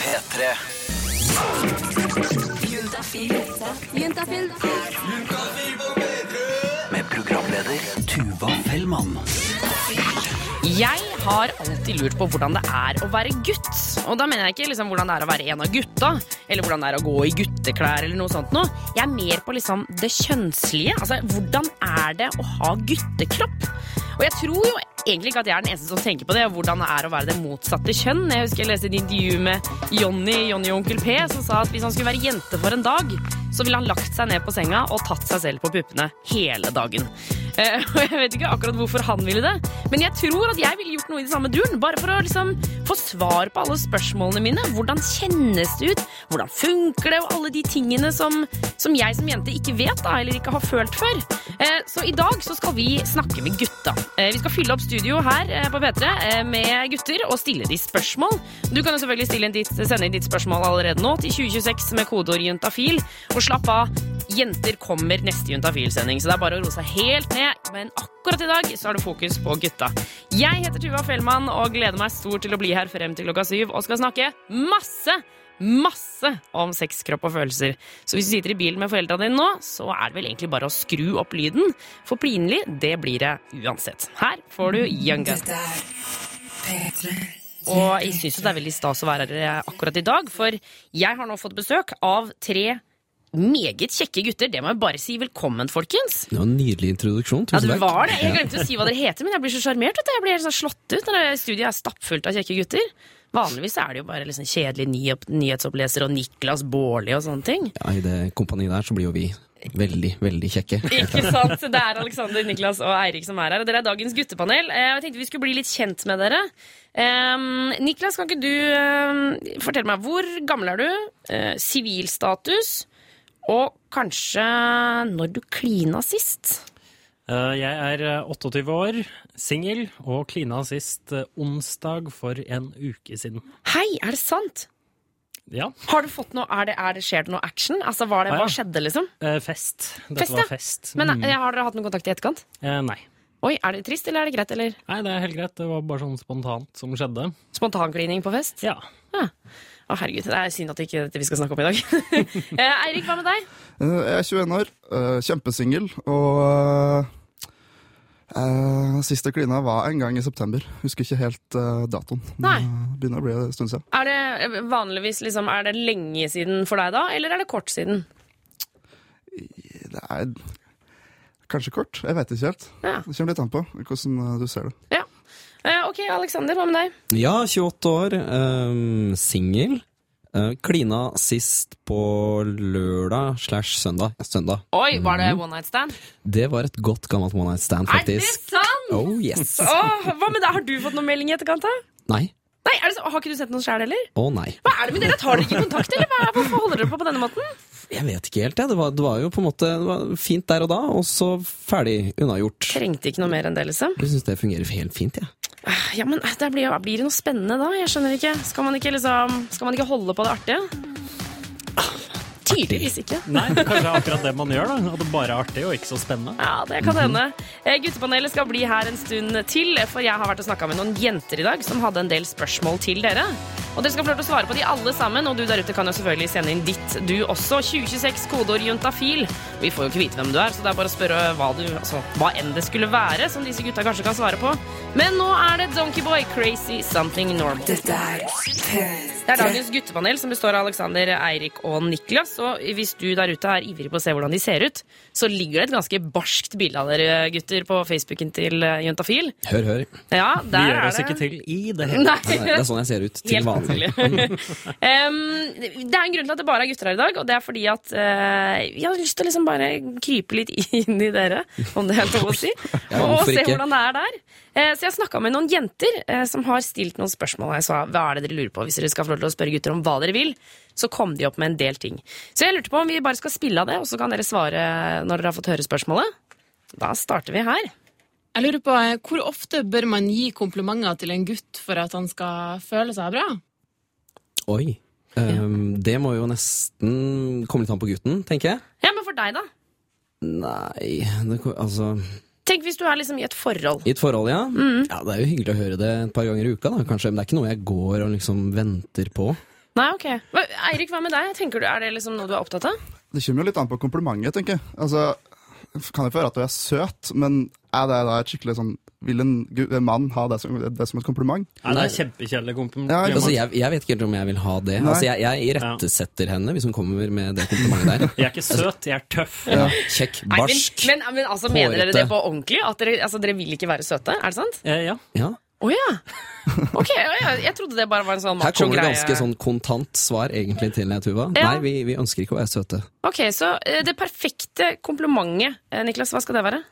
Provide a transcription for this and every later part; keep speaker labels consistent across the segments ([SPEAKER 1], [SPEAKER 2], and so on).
[SPEAKER 1] P3.
[SPEAKER 2] Juntafil.
[SPEAKER 1] Med programleder Tuva Fellmann.
[SPEAKER 3] Jeg har alltid lurt på hvordan det er å være gutt. Og da mener jeg ikke liksom hvordan det er å være en av gutta, eller hvordan det er å gå i gutteklær. eller noe sånt. Noe. Jeg er mer på liksom det kjønnslige. Altså, Hvordan er det å ha guttekropp? Og jeg tror jo egentlig ikke at jeg er den eneste som tenker på det. Hvordan det er å være det motsatte kjønn. Jeg husker jeg leste et intervju med Jonny Jonny og Onkel P, som sa at hvis han skulle være jente for en dag, så ville han lagt seg ned på senga og tatt seg selv på puppene hele dagen. Eh, Og jeg vet ikke akkurat hvorfor han ville det, men jeg tror at jeg ville gjort noe i den samme duren. Bare for å liksom få svar på alle spørsmålene mine. Hvordan kjennes det ut? Hvordan funker det? Og alle de tingene som, som jeg som jente ikke vet, da, eller ikke har følt før. Eh, Så i dag så skal vi snakke med gutta. Eh, Vi skal fylle opp studio her eh, på P3 eh, med gutter og stille de spørsmål. Du kan jo selvfølgelig stille inn ditt, sende inn ditt spørsmål allerede nå til 2026 med kodeord juntafil. Og slapp av. Jenter kommer neste Juntafil-sending, så det er bare å roe seg helt ned. Men akkurat i dag så er det fokus på gutta. Jeg heter Tuva Fellmann og gleder meg stort til å bli her frem til klokka syv og skal snakke masse, masse om sex, kropp og følelser. Så hvis du sitter i bilen med foreldra dine nå, så er det vel egentlig bare å skru opp lyden. For pinlig, det blir det uansett. Her får du Young Gun. Og jeg syns det er veldig stas å være her akkurat i dag, for jeg har nå fått besøk av tre meget kjekke gutter. Det må jeg bare si velkommen, folkens.
[SPEAKER 4] Det var en nydelig introduksjon.
[SPEAKER 3] Ja,
[SPEAKER 4] Tusen
[SPEAKER 3] du
[SPEAKER 4] takk.
[SPEAKER 3] var det. Jeg glemte å si hva dere heter, men jeg blir så sjarmert. vet du. Jeg blir helt sånn slått ut når det studiet er stappfullt av kjekke gutter. Vanligvis er det jo bare liksom kjedelig nyop- nyhetsoppleser og Niklas Baarli og sånne ting.
[SPEAKER 4] Ja, I det kompaniet der så blir jo vi veldig, veldig kjekke.
[SPEAKER 3] Ikke sant? Det er Alexander, Niklas og Eirik som er her. Og dere er dagens guttepanel. Eh, Jeg tenkte vi skulle bli litt kjent med dere. Ehm, Niklas, kan ikke du eh, fortelle meg hvor gammel er du? Eh, Sivilstatus? og kanskje når du klina sist?
[SPEAKER 5] Eh, Jeg er eh, 28 år, singel, og klina sist eh, onsdag for en uke siden.
[SPEAKER 3] Hei, er det sant?
[SPEAKER 5] Ja,
[SPEAKER 3] Har du fått noe, er det, er det, Skjer det noe action? Altså, var det,
[SPEAKER 5] Ja, ja.
[SPEAKER 3] Hva skjedde, liksom?
[SPEAKER 5] eh, fest. Dette
[SPEAKER 3] Fest, ja.
[SPEAKER 5] var fest.
[SPEAKER 3] Men
[SPEAKER 5] Mm.
[SPEAKER 3] eh, Har dere hatt noen kontakt i etterkant?
[SPEAKER 5] Eh, Nei.
[SPEAKER 3] Oi, Er det trist, eller er det greit? eller
[SPEAKER 5] Nei, det er helt greit. Det var bare sånn spontant som skjedde.
[SPEAKER 3] Spontanklining på fest?
[SPEAKER 5] Ja.
[SPEAKER 3] Å, herregud, Det er synd at det ikke er dette vi skal snakke om i dag. Eh, Eirik, hva med deg?
[SPEAKER 6] Eh, Jeg er 21 år, eh, kjempesingel, og eh, siste klina var en gang i september. Husker ikke helt eh, datoen.
[SPEAKER 3] Nei.
[SPEAKER 6] men det Begynner å bli en stund siden.
[SPEAKER 3] Er det vanligvis liksom, er det lenge siden for deg da, eller er det kort siden?
[SPEAKER 6] Det er kanskje kort, jeg vet ikke helt.
[SPEAKER 3] Ja.
[SPEAKER 6] Det kommer litt an på hvordan eh, du ser det.
[SPEAKER 3] ja. Eh, ok, Alexander, hva med deg?
[SPEAKER 4] Ja, 28 år, um, singel. Eh, klina sist på lørdag slash søndag. Søndag.
[SPEAKER 3] Oi, var det one night stand?
[SPEAKER 4] Det var et godt gammelt one night stand, faktisk.
[SPEAKER 3] Er det sant?
[SPEAKER 4] Oh yes!
[SPEAKER 3] Åh, hva med deg? Har du fått noen melding i etterkant da?
[SPEAKER 4] Nei.
[SPEAKER 3] Nei, er det så, har ikke du sett noen selv heller?
[SPEAKER 4] Å nei.
[SPEAKER 3] Hva er det med dere? Tar dere ikke kontakt, eller hva, hvorfor holder dere på på denne måten?
[SPEAKER 4] Jeg vet ikke helt, jeg. Det var, det var jo på en måte det var fint der og da, og så ferdig unnagjort.
[SPEAKER 3] Trengte ikke noe mer enn det, liksom.
[SPEAKER 4] Jeg syns det fungerer helt fint, jeg.
[SPEAKER 3] Ja, men eh, det blir, jo- blir det noe spennende da? Jeg skjønner ikke. Skal man ikke liksom, skal man ikke holde på det artige? Tydeligvis ikke.
[SPEAKER 5] Nei, det kanskje er akkurat det man gjør, da. At det bare er artig og ikke så spennende.
[SPEAKER 3] Ja, det kan hende. Eh, Guttepanelet skal bli her en stund til, for jeg har vært og snakka med noen jenter i dag som hadde en del spørsmål til dere. Og dere skal få lov til å svare på de alle sammen, og du der ute kan jo selvfølgelig sende inn ditt, du også. 2026 kodeord juntafil. Vi får jo ikke vite hvem du er, så det er bare å spørre hva du Altså hva enn det skulle være, som disse gutta kanskje kan svare på. Men nå er det Donkeyboy Crazy Something Normal. Det er dagens guttepanel som består av Alexander, Eirik og Niklas. Og hvis du der ute er ivrig på å se hvordan de ser ut, så ligger det et ganske barskt bilde av dere gutter på Facebooken til eh, Juntafil.
[SPEAKER 4] Hør, hør.
[SPEAKER 3] Ja, der
[SPEAKER 5] Vi
[SPEAKER 3] er
[SPEAKER 5] gjør oss
[SPEAKER 3] det-
[SPEAKER 5] ikke til i det hele
[SPEAKER 3] Nei.
[SPEAKER 4] Nei, det er sånn jeg ser ut til
[SPEAKER 3] Helt naturlig.
[SPEAKER 4] vanlig.
[SPEAKER 3] Em, det er en grunn til at det bare er gutter her i dag, og det er fordi at eh, jeg har lyst til å liksom bare krype litt inn i dere, om det er lov å si,
[SPEAKER 4] Ja,
[SPEAKER 3] og
[SPEAKER 4] hvorfor
[SPEAKER 3] se
[SPEAKER 4] ikke?
[SPEAKER 3] hvordan det er der. Eh, så jeg snakka med noen jenter eh, som har stilt noen spørsmål, og jeg sa hva er det dere lurer på hvis dere skal få lov til å spørre gutter om hva dere vil. Så kom de opp med en del ting. Så jeg lurte på om vi bare skal spille av det, og så kan dere svare når dere har fått høre spørsmålet. Da starter vi her.
[SPEAKER 7] Jeg lurer på, eh, Hvor ofte bør man gi komplimenter til en gutt for at han skal føle seg bra?
[SPEAKER 4] Oi. Um, det må jo nesten komme litt an på gutten, tenker jeg.
[SPEAKER 3] Ja, men for deg, da?
[SPEAKER 4] Nei det, ko- Altså
[SPEAKER 3] Tenk hvis du er liksom i et forhold.
[SPEAKER 4] I et forhold, ja.
[SPEAKER 3] Mm.
[SPEAKER 4] ja. Det er jo hyggelig å høre det et par ganger i uka, da, kanskje. Men det er ikke noe jeg går og liksom venter på.
[SPEAKER 3] Nei, ok. Hva, Eirik, hva med deg? Tenker du, Er det liksom noe du er opptatt av?
[SPEAKER 6] Det kommer jo litt an på komplimentet, tenker jeg. Altså, kan jeg få høre at du er søt, men er det da et skikkelig sånn Vil en, gu- en mann ha det som, det som et kompliment?
[SPEAKER 5] Nei, det er kjempekjedelig
[SPEAKER 6] Ja,
[SPEAKER 5] kompliment.
[SPEAKER 4] Altså, jeg, jeg vet ikke helt om jeg vil ha det.
[SPEAKER 6] Nei.
[SPEAKER 4] Altså, jeg, jeg irettesetter henne hvis hun kommer med det komplimentet der.
[SPEAKER 5] Jeg er ikke søt, jeg er tøff.
[SPEAKER 4] Kjekk,
[SPEAKER 3] Nei, men,
[SPEAKER 4] barsk.
[SPEAKER 3] men, men altså, mener dere
[SPEAKER 4] hårete.
[SPEAKER 3] det på ordentlig? At dere, altså, dere vil ikke være søte? Er det sant?
[SPEAKER 5] Eh, ja.
[SPEAKER 4] Ja.
[SPEAKER 3] Å ja. Ok, ja, ja. Jeg trodde det bare var en sånn
[SPEAKER 4] Her
[SPEAKER 3] macho
[SPEAKER 4] kommer det
[SPEAKER 3] greie.
[SPEAKER 4] ganske sånn kontant svar egentlig til deg, Tuva.
[SPEAKER 3] Ja.
[SPEAKER 4] Nei, vi, vi ønsker ikke å være søte.
[SPEAKER 3] Ok, Så eh, det perfekte komplimentet, eh, Niklas, hva skal det være?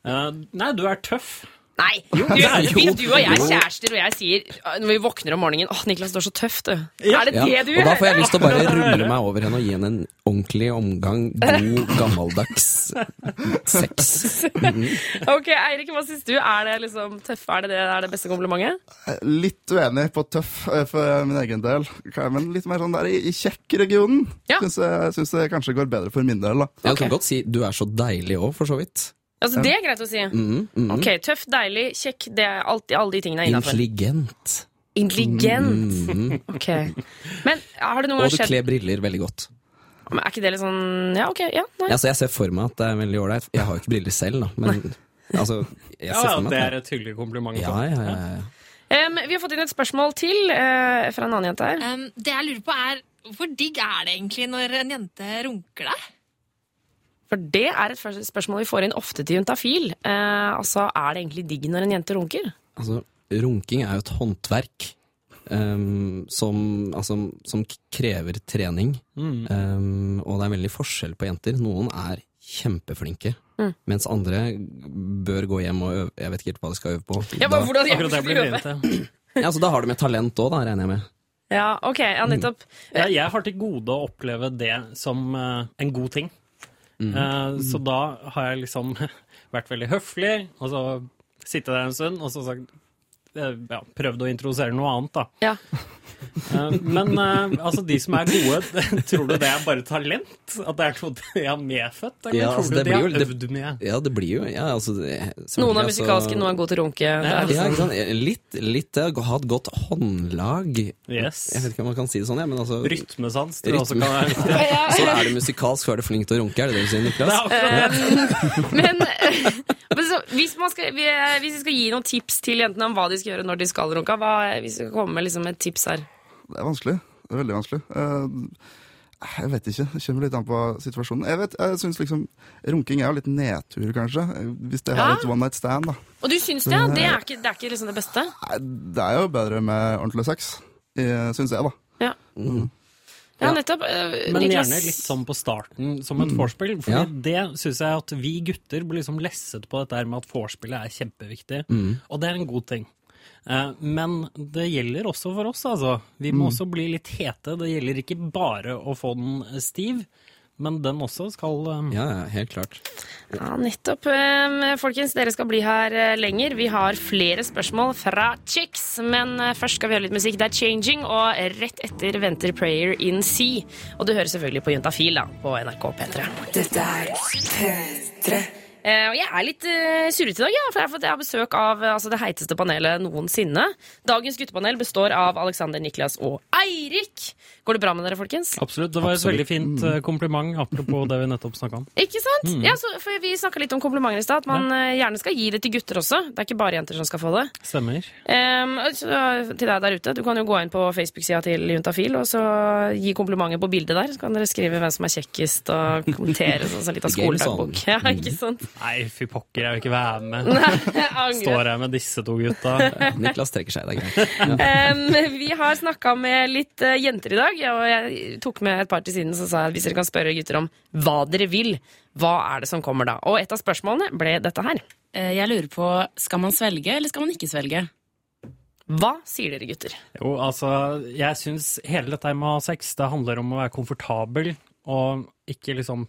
[SPEAKER 5] Eh, nei, du er tøff.
[SPEAKER 3] Nei! du, hvis du og jeg er kjærester, og jeg sier eh, når vi våkner om morgenen Åh, Niklas, du er så tøff, du.
[SPEAKER 5] Ja.
[SPEAKER 3] Er det
[SPEAKER 4] Ja.
[SPEAKER 3] det du
[SPEAKER 4] Og da får jeg lyst til å
[SPEAKER 5] Ja,
[SPEAKER 4] bare
[SPEAKER 5] det er det.
[SPEAKER 4] rulle meg over henne og gi henne en ordentlig omgang god, gammeldags sex.
[SPEAKER 3] Ok, Eirik, hva syns du? Er det liksom tøff? Er det det, er det beste komplimentet?
[SPEAKER 6] Eh, Litt uenig på tøff eh, for min egen del, Kan- men litt mer sånn der i, i kjekk-regionen.
[SPEAKER 3] Ja.
[SPEAKER 6] Syns jeg syns det kanskje går bedre for min del, da.
[SPEAKER 4] Jeg kan godt si 'du er så deilig' òg, for så vidt.
[SPEAKER 3] Altså, Det er greit å si.
[SPEAKER 4] Mm,
[SPEAKER 3] Ok, Tøff, deilig, kjekk. Det er alt, alle de tingene er innafor.
[SPEAKER 4] Intelligent.
[SPEAKER 3] Intelligent. Ok. Men ah, har det noen
[SPEAKER 4] Og
[SPEAKER 3] gang
[SPEAKER 4] du
[SPEAKER 3] skjedd
[SPEAKER 4] kler briller veldig godt.
[SPEAKER 3] Men Er ikke det litt sånn Ja, ok. ja, nei.
[SPEAKER 4] Altså, jeg ser for meg at det er veldig ålreit. Jeg har jo ikke briller selv, da, men altså, jeg ser
[SPEAKER 5] Ja,
[SPEAKER 4] for meg
[SPEAKER 5] det
[SPEAKER 4] at
[SPEAKER 5] er et hyggelig kompliment.
[SPEAKER 4] ja, ja, ja, ja.
[SPEAKER 3] Em, vi har fått inn et spørsmål til eh, fra en annen jente her.
[SPEAKER 8] Um, det jeg lurer på er, hvor digg er det egentlig når en jente runker deg?
[SPEAKER 3] For det er et første spørsmål vi får inn ofte til Juntafil. Eh, altså, er det egentlig digg når en jente runker?
[SPEAKER 4] Altså, runking er jo et håndverk ehm, som, altså, som k- krever trening. Ehm, og det er veldig forskjell på jenter. Noen er kjempeflinke,
[SPEAKER 3] Mm.
[SPEAKER 4] mens andre bør gå hjem og øve. Jeg vet ikke helt hva de skal øve på.
[SPEAKER 3] Ja,
[SPEAKER 4] da,
[SPEAKER 3] bare, hvordan
[SPEAKER 5] Akkurat det blir mye til.
[SPEAKER 4] ja, altså, da har de med talent òg, regner jeg med.
[SPEAKER 3] Ja, ok, ja, nettopp.
[SPEAKER 5] Ja, jeg har til gode å oppleve det som eh, en god ting.
[SPEAKER 4] Mm.
[SPEAKER 5] Eh, så da har jeg liksom vært veldig høflig, og så sittet der en stund, og så sagt eh, ja, Prøvd å introdusere noe annet, da.
[SPEAKER 3] Ja.
[SPEAKER 5] Eh, men eh, altså, de som er gode, tror du det er bare talent? At det er noe de har medfødt? Eller
[SPEAKER 4] Ja,
[SPEAKER 5] tror
[SPEAKER 4] altså,
[SPEAKER 5] du
[SPEAKER 4] det
[SPEAKER 5] de
[SPEAKER 4] blir
[SPEAKER 5] har
[SPEAKER 4] jo-
[SPEAKER 5] øvd med?
[SPEAKER 4] Ja, det blir jo ja, altså, det-
[SPEAKER 3] Noen er
[SPEAKER 4] selvfølgelig,
[SPEAKER 3] musikalske,
[SPEAKER 4] altså-
[SPEAKER 3] noen er gode til å runke. Det er
[SPEAKER 4] Ja, ikke sant? Eh, Litt, litt det å ha et godt håndlag.
[SPEAKER 5] Yes.
[SPEAKER 4] Jeg vet ikke om man kan si det sånn, ja, men altså
[SPEAKER 5] Rytmesans tror jeg også
[SPEAKER 4] Rytme.
[SPEAKER 5] kan være viktig.
[SPEAKER 4] Så er du musikalsk, så er du flink til å runke, er det det du sier, Niklas?
[SPEAKER 5] Det er akkurat det.
[SPEAKER 3] Men men så, hvis, man skal, vi, hvis vi skal gi noen tips til jentene om hva de skal gjøre når de skal runke, hva, hvis vi skal komme med liksom et tips her
[SPEAKER 6] Det er vanskelig. Det er veldig vanskelig. Eh, jeg vet ikke. Det kommer litt an på situasjonen. Jeg vet, jeg synes liksom Runking er jo litt nedtur, kanskje. Hvis det
[SPEAKER 3] Ja.
[SPEAKER 6] er et one night stand, da.
[SPEAKER 3] Og du syns det, ja? Det
[SPEAKER 5] Mm.
[SPEAKER 3] er ikke, det, er ikke liksom det beste?
[SPEAKER 6] Nei, Det er jo bedre med ordentlig sex, syns jeg, da.
[SPEAKER 3] Ja, ja nettopp. eh,
[SPEAKER 5] Mm. Men
[SPEAKER 3] Niklas.
[SPEAKER 5] gjerne litt sånn på starten, som et vorspiel. For
[SPEAKER 4] Ja.
[SPEAKER 5] det syns jeg at vi gutter blir liksom lesset på dette her med at vorspielet er kjempeviktig. Og det er en god ting. Eh, Men det gjelder også for oss, altså. Vi må også bli litt hete. Det gjelder ikke bare å få den eh, stiv, men den også skal eh,
[SPEAKER 4] Ja, ja, helt klart.
[SPEAKER 3] Ja, nettopp. Eh, Folkens, dere skal bli her eh, lenger. Vi har flere spørsmål fra Chicks, men eh, først skal vi høre litt musikk. Det er Changing, og rett etter venter Prayer in Sea. Og du hører selvfølgelig på Juntafil da, på NRK P3.
[SPEAKER 2] Dette er P3.
[SPEAKER 3] Eh, Og jeg er litt uh, surret i dag, ja, for jeg har fått- jeg har besøk av eh, altså, det heiteste panelet noensinne. Dagens guttepanel består av Alexander, Niklas og Eirik. Går det bra med dere, folkens?
[SPEAKER 5] Absolutt. Det var et veldig fint eh, kompliment, apropos det vi nettopp snakka om.
[SPEAKER 3] Ikke sant? Ja, så, for Vi snakka litt om komplimenter i stad. At man eh, gjerne skal gi det til gutter også. Det er ikke bare jenter som skal få det.
[SPEAKER 5] Stemmer.
[SPEAKER 3] Ehm, så, til deg der ute, Du kan jo gå inn på Facebook-sida til Juntafil og så gi komplimenter på bildet der. Så kan dere skrive hvem som er kjekkest, og kommentere sånn som litt av
[SPEAKER 4] The game's on.
[SPEAKER 3] skoledagbok. Ja, ikke sant?
[SPEAKER 5] Nei, fy pokker, jeg vil ikke være med.
[SPEAKER 3] Jeg angrer.
[SPEAKER 5] Står her med disse to gutta.
[SPEAKER 4] Niklas trekker seg, det er greit.
[SPEAKER 3] Ehm, vi har snakka med litt eh, jenter i dag, og jeg tok med et par til siden. Så sa jeg at hvis dere kan spørre gutter om hva dere vil, hva er det som kommer da? Og et av spørsmålene ble dette her.
[SPEAKER 7] Eh, Jeg lurer på, skal man svelge, eller skal man ikke svelge?
[SPEAKER 3] Hva sier dere, gutter?
[SPEAKER 5] Jo, altså, jeg syns hele dette med å ha sex, det handler om å være komfortabel og ikke liksom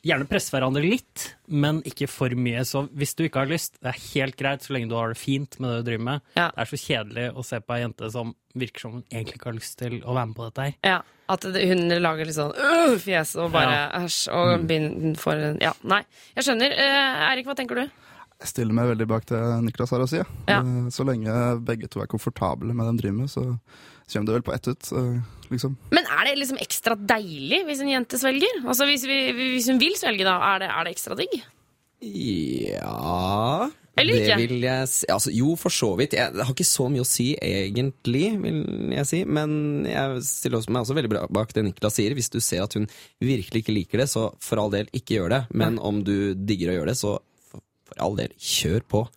[SPEAKER 5] Gjerne presse hverandre litt, men ikke for mye. Så hvis du ikke har lyst, det er helt greit så lenge du har det fint med det du driver med.
[SPEAKER 3] Ja.
[SPEAKER 5] Det er så kjedelig å se på ei jente som virker som hun egentlig ikke har lyst til å være med på dette her.
[SPEAKER 3] Ja, At det- hun lager litt sånn øh, Mm. fjes og bare æsj og begynner for en Ja, nei. Jeg skjønner. Eh, Eirik, hva tenker du?
[SPEAKER 6] Jeg stiller meg veldig bak det Niklas har å si. jeg.
[SPEAKER 3] Ja.
[SPEAKER 6] Eh, Så lenge begge to er komfortable med det de driver med, så så kommer det vel på ett ut. eh, liksom.
[SPEAKER 3] Men er det liksom ekstra deilig hvis en jente svelger? Altså Hvis, vi, hvis hun vil svelge, da, er det, er det ekstra digg?
[SPEAKER 4] Ja
[SPEAKER 3] Eller
[SPEAKER 4] det
[SPEAKER 3] ikke?
[SPEAKER 4] vil jeg si. Altså, jo, for så vidt. Jeg det har ikke så mye å si, egentlig, vil jeg si. Men jeg stiller også meg også veldig bra bak det Niklas sier. Hvis du ser at hun virkelig ikke liker det, så for all del, ikke gjør det. Men om du digger å gjøre det, så for for all del, kjør på.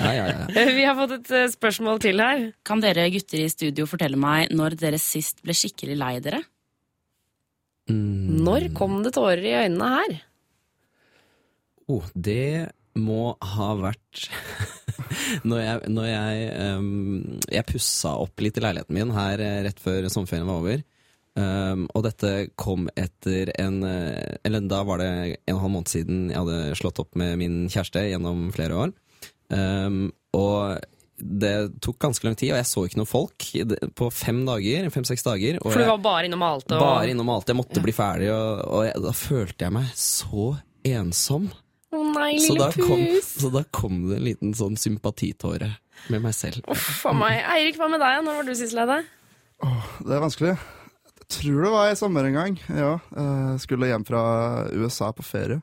[SPEAKER 4] ja, ja, ja.
[SPEAKER 3] Vi har fått et eh, spørsmål til her.
[SPEAKER 9] Kan dere gutter i studio fortelle meg når dere sist ble skikkelig lei dere?
[SPEAKER 4] Mm.
[SPEAKER 3] Når kom det tårer i øynene her?
[SPEAKER 4] Oh, det må ha vært når jeg, når jeg, ehm, jeg pussa opp litt i leiligheten min her eh, rett før sommerferien var over. Ehm, og dette kom etter en eh, Eller da var det en og en halv måned siden jeg hadde slått opp med min kjæreste gjennom flere år. Ehm, og det tok ganske lang tid, og jeg så ikke noe folk i det- på fem dager. Fem-seks dager. Og
[SPEAKER 3] For du
[SPEAKER 4] jeg-
[SPEAKER 3] var bare innom alt og
[SPEAKER 4] bare innom alt. Jeg måtte bli ferdig, og, og jeg, da følte jeg meg så ensom.
[SPEAKER 3] Å nei,
[SPEAKER 4] Så
[SPEAKER 3] lille
[SPEAKER 4] da, kom,
[SPEAKER 3] pus!
[SPEAKER 4] så da kom det en liten sånn sympatitåre med meg selv.
[SPEAKER 3] Uff a meg. Eirik, hva med deg? Når var du sist lei deg?
[SPEAKER 6] Det er vanskelig. Jeg tror det var i sommer en gang. Ja, eh, skulle hjem fra USA på ferie.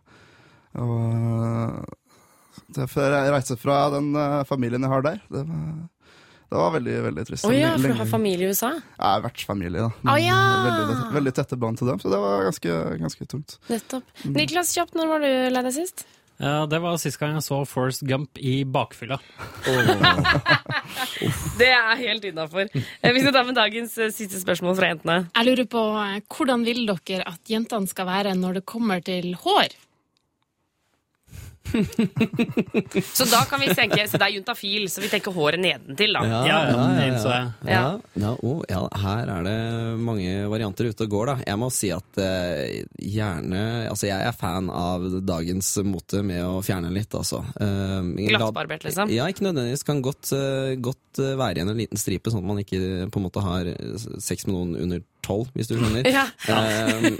[SPEAKER 6] Og eh, derfor jeg reiste fra den eh, familien jeg har der. Det var, det var veldig, veldig trist.
[SPEAKER 3] Å ja,
[SPEAKER 6] Lenge-
[SPEAKER 3] for du
[SPEAKER 6] lenge-
[SPEAKER 3] har familie i USA?
[SPEAKER 6] Jeg er vertsfamilie, da.
[SPEAKER 3] Å ja!
[SPEAKER 6] veldig, veldig tette bånd til dem, så det var ganske, ganske tungt.
[SPEAKER 3] Nettopp. Niklas, kjapt, når var du lei deg sist?
[SPEAKER 5] Eh, Det var sist gang jeg så Forrest Gump i bakfylla.
[SPEAKER 3] Det er helt innafor. Vi skal ta med dagens eh, siste spørsmål fra jentene.
[SPEAKER 7] Jeg lurer på eh, hvordan vil dere at jentene skal være når det kommer til hår?
[SPEAKER 3] Så da kan vi tenke, så det er juntafil, så vi tenker håret nedentil, da.
[SPEAKER 5] Ja, ja, den så Mm, jeg.
[SPEAKER 4] Ja, ja, å, ja, her er det mange varianter ute og går, da. Jeg må si at eh, gjerne Altså, jeg er fan av dagens mote med å fjerne litt, altså. Eh, la-
[SPEAKER 3] Glattbarbert, liksom?
[SPEAKER 4] Ja, ikke nødvendigvis. Kan godt, eh, godt eh, være igjen en liten stripe, sånn at man ikke på en måte har eh, sex med noen under tolv, hvis du skjønner.
[SPEAKER 3] Ja.
[SPEAKER 4] Eh,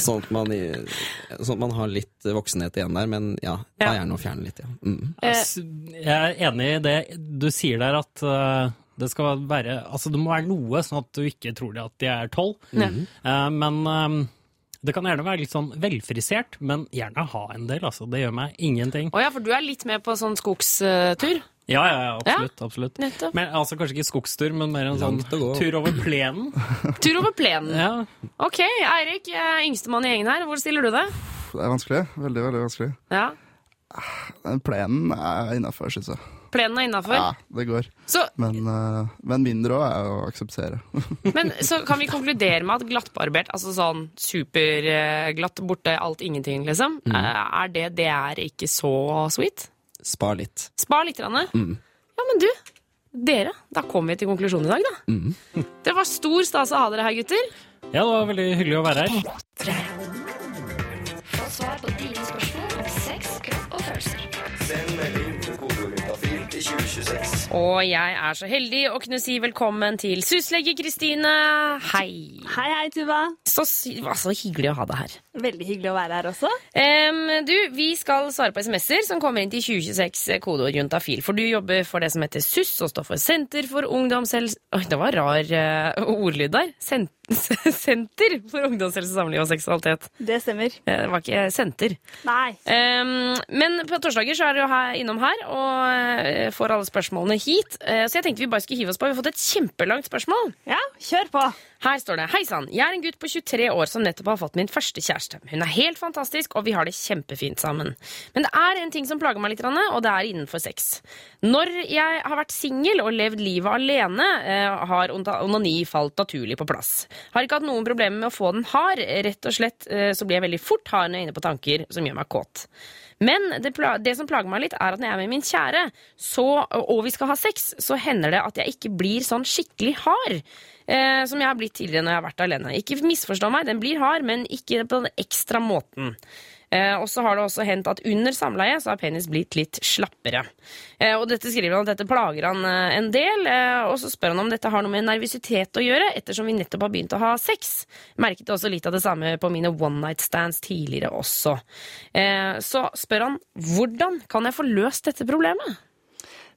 [SPEAKER 4] sånn, at man, i- sånn at man har litt voksenhet igjen der, men ja, ta
[SPEAKER 3] Ja.
[SPEAKER 4] gjerne og fjerne litt, ja. Mm.
[SPEAKER 5] S- Jeg er enig i det du sier der, at eh, det skal være Altså, det må være noe, sånn at du ikke tror de at de er tolv.
[SPEAKER 4] Mhm.
[SPEAKER 5] Eh, Men eh, det kan gjerne være litt sånn velfrisert, men gjerne ha en del, altså. Det gjør meg ingenting.
[SPEAKER 3] Å ja, for du er litt med på sånn skogstur?
[SPEAKER 5] Ja, ja, ja, absolutt. absolutt.
[SPEAKER 3] Nettopp.
[SPEAKER 5] Men, altså kanskje ikke skogstur, men mer en sånn
[SPEAKER 4] Langt å gå.
[SPEAKER 5] tur over plenen.
[SPEAKER 3] Tur over plenen.
[SPEAKER 5] Ja.
[SPEAKER 3] Ok, Eirik, jeg er yngstemann i gjengen her. Hvor stiller du det?
[SPEAKER 6] Det er vanskelig. Veldig, veldig vanskelig.
[SPEAKER 3] Ja.
[SPEAKER 6] Den Plenen er innafor, syns jeg.
[SPEAKER 3] Plenen er innafor.
[SPEAKER 6] Ja, det går.
[SPEAKER 3] Så,
[SPEAKER 6] Men, eh, men mindre òg er å akseptere.
[SPEAKER 3] men så kan vi konkludere med at glattbarbert, altså sånn superglatt, borte alt, ingenting, liksom,
[SPEAKER 5] Mm.
[SPEAKER 3] eh, er det det er ikke så sweet?
[SPEAKER 4] Spar litt.
[SPEAKER 3] Spar litt. Ranne. Ja, men du, dere, da kom vi til konklusjonen i dag, da. Det var stor stas å ha dere her, gutter.
[SPEAKER 5] ja, det var veldig hyggelig å være her.
[SPEAKER 10] Svar på dine spørsmål om sex, kropp og følelser.
[SPEAKER 3] Og jeg er så heldig å kunne si velkommen til syslege Kristine. Hei.
[SPEAKER 11] Hei, hei, Tuva.
[SPEAKER 3] Så, sy- hva, så hyggelig å ha deg her.
[SPEAKER 11] Veldig hyggelig å være her også.
[SPEAKER 3] Em, du, vi skal svare på sms'er som kommer inn til 2026 kodeord juntafil. For du jobber for det som heter SUS, og står for Senter for ungdomshelse... Oi, det var rar eh, ordlyd der. Sen senter for ungdomshelse, samliv og seksualitet.
[SPEAKER 11] Det stemmer.
[SPEAKER 3] Eh, Det var ikke senter.
[SPEAKER 11] Nei.
[SPEAKER 3] Em, Ehm, men på torsdager så er du her, innom her og eh, får alle spørsmålene hit. Eh, så jeg tenkte vi bare skulle hive oss på. Vi har fått et kjempelangt spørsmål.
[SPEAKER 11] Ja, kjør på.
[SPEAKER 3] Her står det Hei sann, jeg er en gutt på 23 år som nettopp har fått min første kjæreste. Hun er helt fantastisk, og vi har det kjempefint sammen. Men det er en ting som plager meg litt, Ranne, og det er innenfor sex. Når jeg har vært singel og levd livet alene, eh, har onta- onani falt naturlig på plass. Har ikke hatt noen problemer med å få den hard. Rett og slett eh, så blir jeg veldig fort hard når jeg er inne på tanker som gjør meg kåt. Men det, pla det som plager meg litt, er at når jeg er med min kjære, så, og vi skal ha sex, så hender det at jeg ikke blir sånn skikkelig hard. Eh, som jeg har blitt tidligere når jeg har vært alene. Ikke misforstå meg, den blir hard, men ikke på den ekstra måten. Eh, og så har det også hendt at under samleie så har penis blitt litt slappere. Eh, og dette skriver han at dette plager han eh, en del, eh, og så spør han om dette har noe med nervøsitet å gjøre, ettersom vi nettopp har begynt å ha sex. Merket også litt av det samme på mine one night stands tidligere også. Eh, så spør han hvordan kan jeg få løst dette problemet?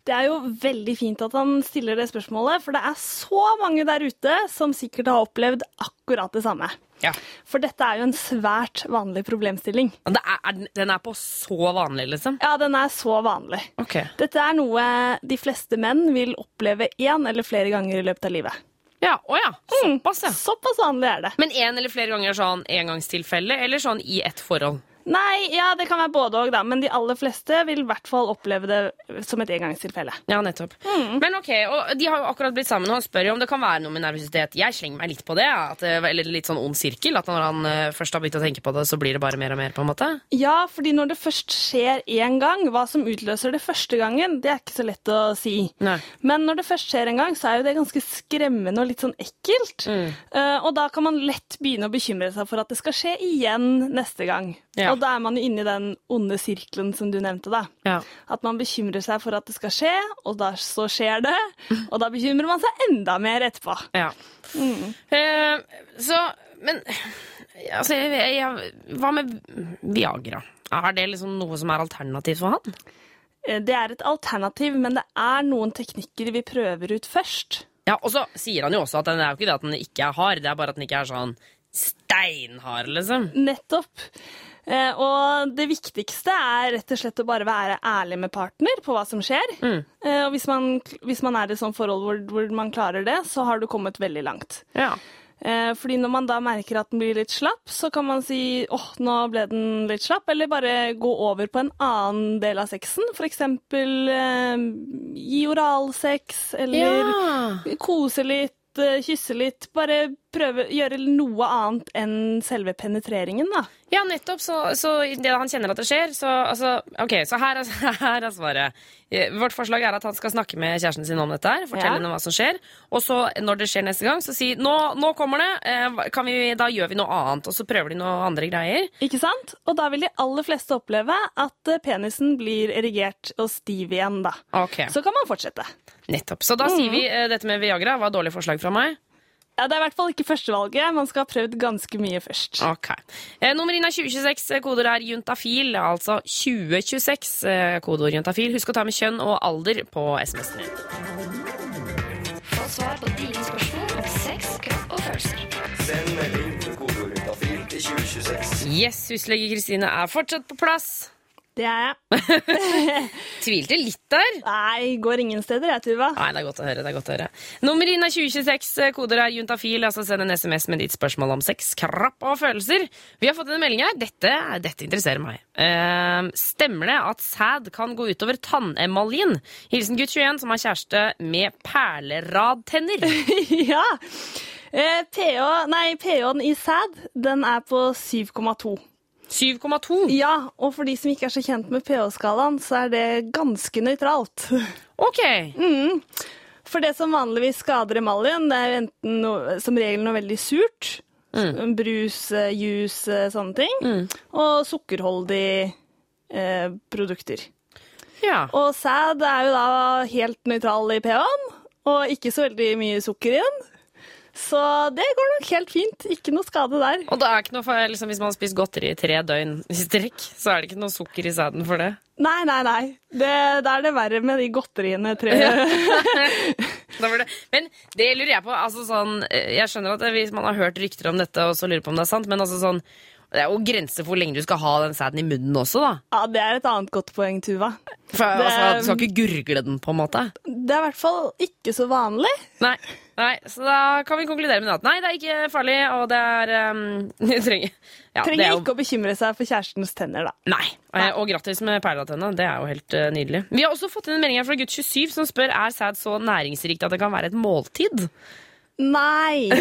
[SPEAKER 11] Det er jo veldig fint at han stiller det spørsmålet, for det er så mange der ute som sikkert har opplevd akkurat det samme.
[SPEAKER 3] Ja.
[SPEAKER 11] For dette er jo en svært vanlig problemstilling.
[SPEAKER 3] Det er, er, den- den er på så vanlig, liksom?
[SPEAKER 11] Ja, den er så vanlig.
[SPEAKER 3] Ok.
[SPEAKER 11] Dette er noe de fleste menn vil oppleve én eller flere ganger i løpet av livet. Mm,
[SPEAKER 3] Ja, å ja. Såpass, ja.
[SPEAKER 11] Såpass vanlig er det.
[SPEAKER 3] Men én eller flere ganger sånn engangstilfelle, eller sånn i ett forhold?
[SPEAKER 11] Nei, ja, det kan være både òg, da, men de aller fleste vil i hvert fall oppleve det som et engangstilfelle.
[SPEAKER 3] Ja, nettopp. Men ok, og De har jo akkurat blitt sammen, og han spør jo om det kan være noe med nervøsitet. Jeg slenger meg litt på det. At, det- eller litt sånn ond sirkel. At når han eh, først har begynt å tenke på det, så blir det bare mer og mer. på en måte.
[SPEAKER 11] Ja, fordi når det først skjer én gang, hva som utløser det første gangen, det er ikke så lett å si.
[SPEAKER 3] Nei.
[SPEAKER 11] Men når det først skjer en gang, så er jo det ganske skremmende og litt sånn ekkelt.
[SPEAKER 3] Mm.
[SPEAKER 11] Eh, og da kan man lett begynne å bekymre seg for at det skal skje igjen neste gang.
[SPEAKER 3] Ja.
[SPEAKER 11] Og da er man jo inne i den onde sirkelen som du nevnte, da.
[SPEAKER 3] Ja.
[SPEAKER 11] At man bekymrer seg for at det skal skje, og da så skjer det. Og da bekymrer man seg enda mer etterpå.
[SPEAKER 3] Ja. Eh, så, men altså, jeg, jeg, Hva med Viagra? Er det liksom noe som er alternativt for han?
[SPEAKER 11] Eh, Det er et alternativ, men det er noen teknikker vi prøver ut først.
[SPEAKER 3] Ja, Og så sier han jo også at den er jo ikke det at den ikke er hard, det er bare at den ikke er sånn steinhard, liksom.
[SPEAKER 11] Nettopp. Eh, og det viktigste er rett og slett å bare være ærlig med partner på hva som skjer. Eh, og hvis man, hvis man er i et sånt forhold hvor, hvor man klarer det, så har du kommet veldig langt.
[SPEAKER 3] Ja.
[SPEAKER 11] Eh, fordi når man da merker at den blir litt slapp, så kan man si åh, nå ble den litt slapp, eller bare gå over på en annen del av sexen. For eksempel eh, gi oralsex, eller kose litt, eh, kysse litt. Bare prøve gjøre noe annet enn selve penetreringen, da.
[SPEAKER 3] Ja, nettopp. Så, så idet han kjenner at det skjer, så altså, Ok, så her er, her er svaret. Eh, Vårt forslag er at han skal snakke med kjæresten sin om dette her. Fortelle
[SPEAKER 11] Ja.
[SPEAKER 3] henne hva som skjer. Og så, når det skjer neste gang, så si nå, nå kommer det. eh, hva- Kan vi, da gjør vi noe annet. Og så prøver de noe andre greier.
[SPEAKER 11] Ikke sant? Og da vil de aller fleste oppleve at eh, penisen blir erigert og stiv igjen, da.
[SPEAKER 3] Ok,
[SPEAKER 11] Så kan man fortsette.
[SPEAKER 3] Nettopp. Så da sier vi eh, dette med Viagra var et dårlig forslag fra meg.
[SPEAKER 11] Ja, Det er i hvert fall ikke førstevalget. Man skal ha prøvd ganske mye først.
[SPEAKER 3] Ok. Eh, Nummer inn er 2026. eh, Kodeord er juntafil. Altså 2026. eh, Kodeord juntafil. Husk å ta med kjønn og alder på SMS-en din.
[SPEAKER 10] Få svar på dine spørsmål om sex, kropp og følelser.
[SPEAKER 12] Send melding til kodeord Juntafil til 2026.
[SPEAKER 3] Yes, huslege Kristine er fortsatt på plass.
[SPEAKER 11] Det er jeg.
[SPEAKER 3] Tvilte litt der.
[SPEAKER 11] Nei, går ingen steder jeg, Tuva.
[SPEAKER 3] Nei, det er godt å høre. det er godt å høre. Nummer inn er 2026, koder er juntafil. altså Send en SMS med ditt spørsmål om sex, krapp og følelser. Vi har fått en melding her. Dette, dette interesserer meg. Eh, stemmer det at sæd kan gå utover tannemaljen? Hilsen gutt 21 som har kjæreste med perleradtenner.
[SPEAKER 11] ja. Eh, PH, nei, pH-en i sæd, den er på 7,2.
[SPEAKER 3] 7,2.
[SPEAKER 11] Ja, og for de som ikke er så kjent med pH-skalaen, så er det ganske nøytralt.
[SPEAKER 3] Ok.
[SPEAKER 11] For det som vanligvis skader emaljen, det er jo enten noe, som regel noe veldig surt, brus, eh, juice, eh, sånne ting, og sukkerholdige eh, produkter.
[SPEAKER 3] Ja.
[SPEAKER 11] Og sæd er jo da helt nøytral i pH-en, og ikke så veldig mye sukker i den. Så det går nok helt fint. Ikke noe skade der.
[SPEAKER 3] Og det er ikke noe for, liksom, Hvis man har spist godteri i tre døgn i strekk, så er det ikke noe sukker i sæden for det.
[SPEAKER 11] Nei, nei, nei. Det, da er det verre med de godteriene. Tre.
[SPEAKER 3] Da var det. Men det lurer jeg på. Altså sånn, eh, jeg skjønner at hvis man har hørt rykter om dette, og så lurer på om det er sant, men altså sånn, det er jo grenser for hvor lenge du skal ha den sæden i munnen også, da.
[SPEAKER 11] Ja, det er et annet godt poeng, Tuva.
[SPEAKER 3] For,
[SPEAKER 11] Det-
[SPEAKER 3] altså, du skal ikke gurgle den, på en måte.
[SPEAKER 11] Det er i hvert fall ikke så vanlig.
[SPEAKER 3] Nei. Nei, så da kan vi konkludere med at nei, det er ikke farlig, og det er um, Du trenger ja, det
[SPEAKER 11] Trenger
[SPEAKER 3] er jo,
[SPEAKER 11] ikke å bekymre seg for kjærestens tenner, da.
[SPEAKER 3] Nei. Eh, Og grattis med perletenna. Det er jo helt eh, nydelig. Vi har også fått inn en melding her fra gutt 27 som spør er sæd så næringsrikt at det kan være et måltid.
[SPEAKER 11] Nei.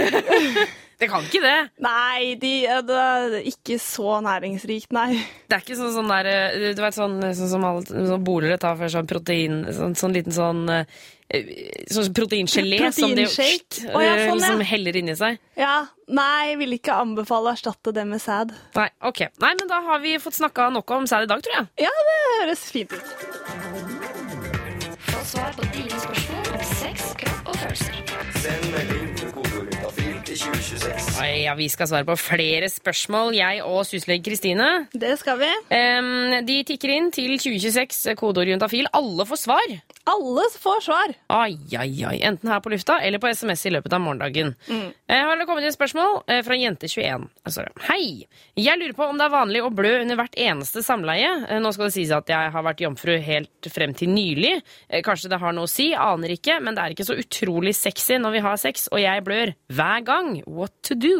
[SPEAKER 3] Det kan ikke det.
[SPEAKER 11] Nei, de, ja, det er ikke så næringsrikt, nei.
[SPEAKER 3] Det er ikke sånn, sånn der eh, Du vet sånn, sånn som alle sånn bolere tar for sånn protein Sånn, sånn liten sånn eh, eh, sånn proteingelé som, det,
[SPEAKER 11] Proteinshake. Å, ja,
[SPEAKER 3] eh,
[SPEAKER 11] sånn, ja.
[SPEAKER 3] som heller inni seg.
[SPEAKER 11] Ja, nei, vil ikke anbefale å erstatte det med sæd.
[SPEAKER 3] Nei, ok. Nei, men da har vi fått snakka nok om sæd i dag, tror jeg.
[SPEAKER 11] Ja, det høres fint ut.
[SPEAKER 10] Få svar på dine spørsmål om sex, kropp og følelser.
[SPEAKER 12] Send melding til kodeord juntafil til 2026.
[SPEAKER 3] Oi, ja, Vi skal svare på flere spørsmål, jeg og syslege Kristine.
[SPEAKER 11] Det skal vi.
[SPEAKER 3] de tikker inn til 2026, kodeord juntafil. Alle får svar.
[SPEAKER 11] Alle får svar.
[SPEAKER 3] Ai, ai, ai. Enten her på lufta eller på SMS i løpet av morgendagen.
[SPEAKER 11] Mm.
[SPEAKER 3] Eh, har det kommet inn et spørsmål eh, fra jente21. Eh, sorry. Hei! Jeg lurer på om det er vanlig å blø under hvert eneste samleie. Eh, nå skal det sies at jeg har vært jomfru helt frem til nylig. Eh, kanskje det har noe å si, aner ikke. Men det er ikke så utrolig sexy når vi har sex, og jeg blør hver gang. What to do?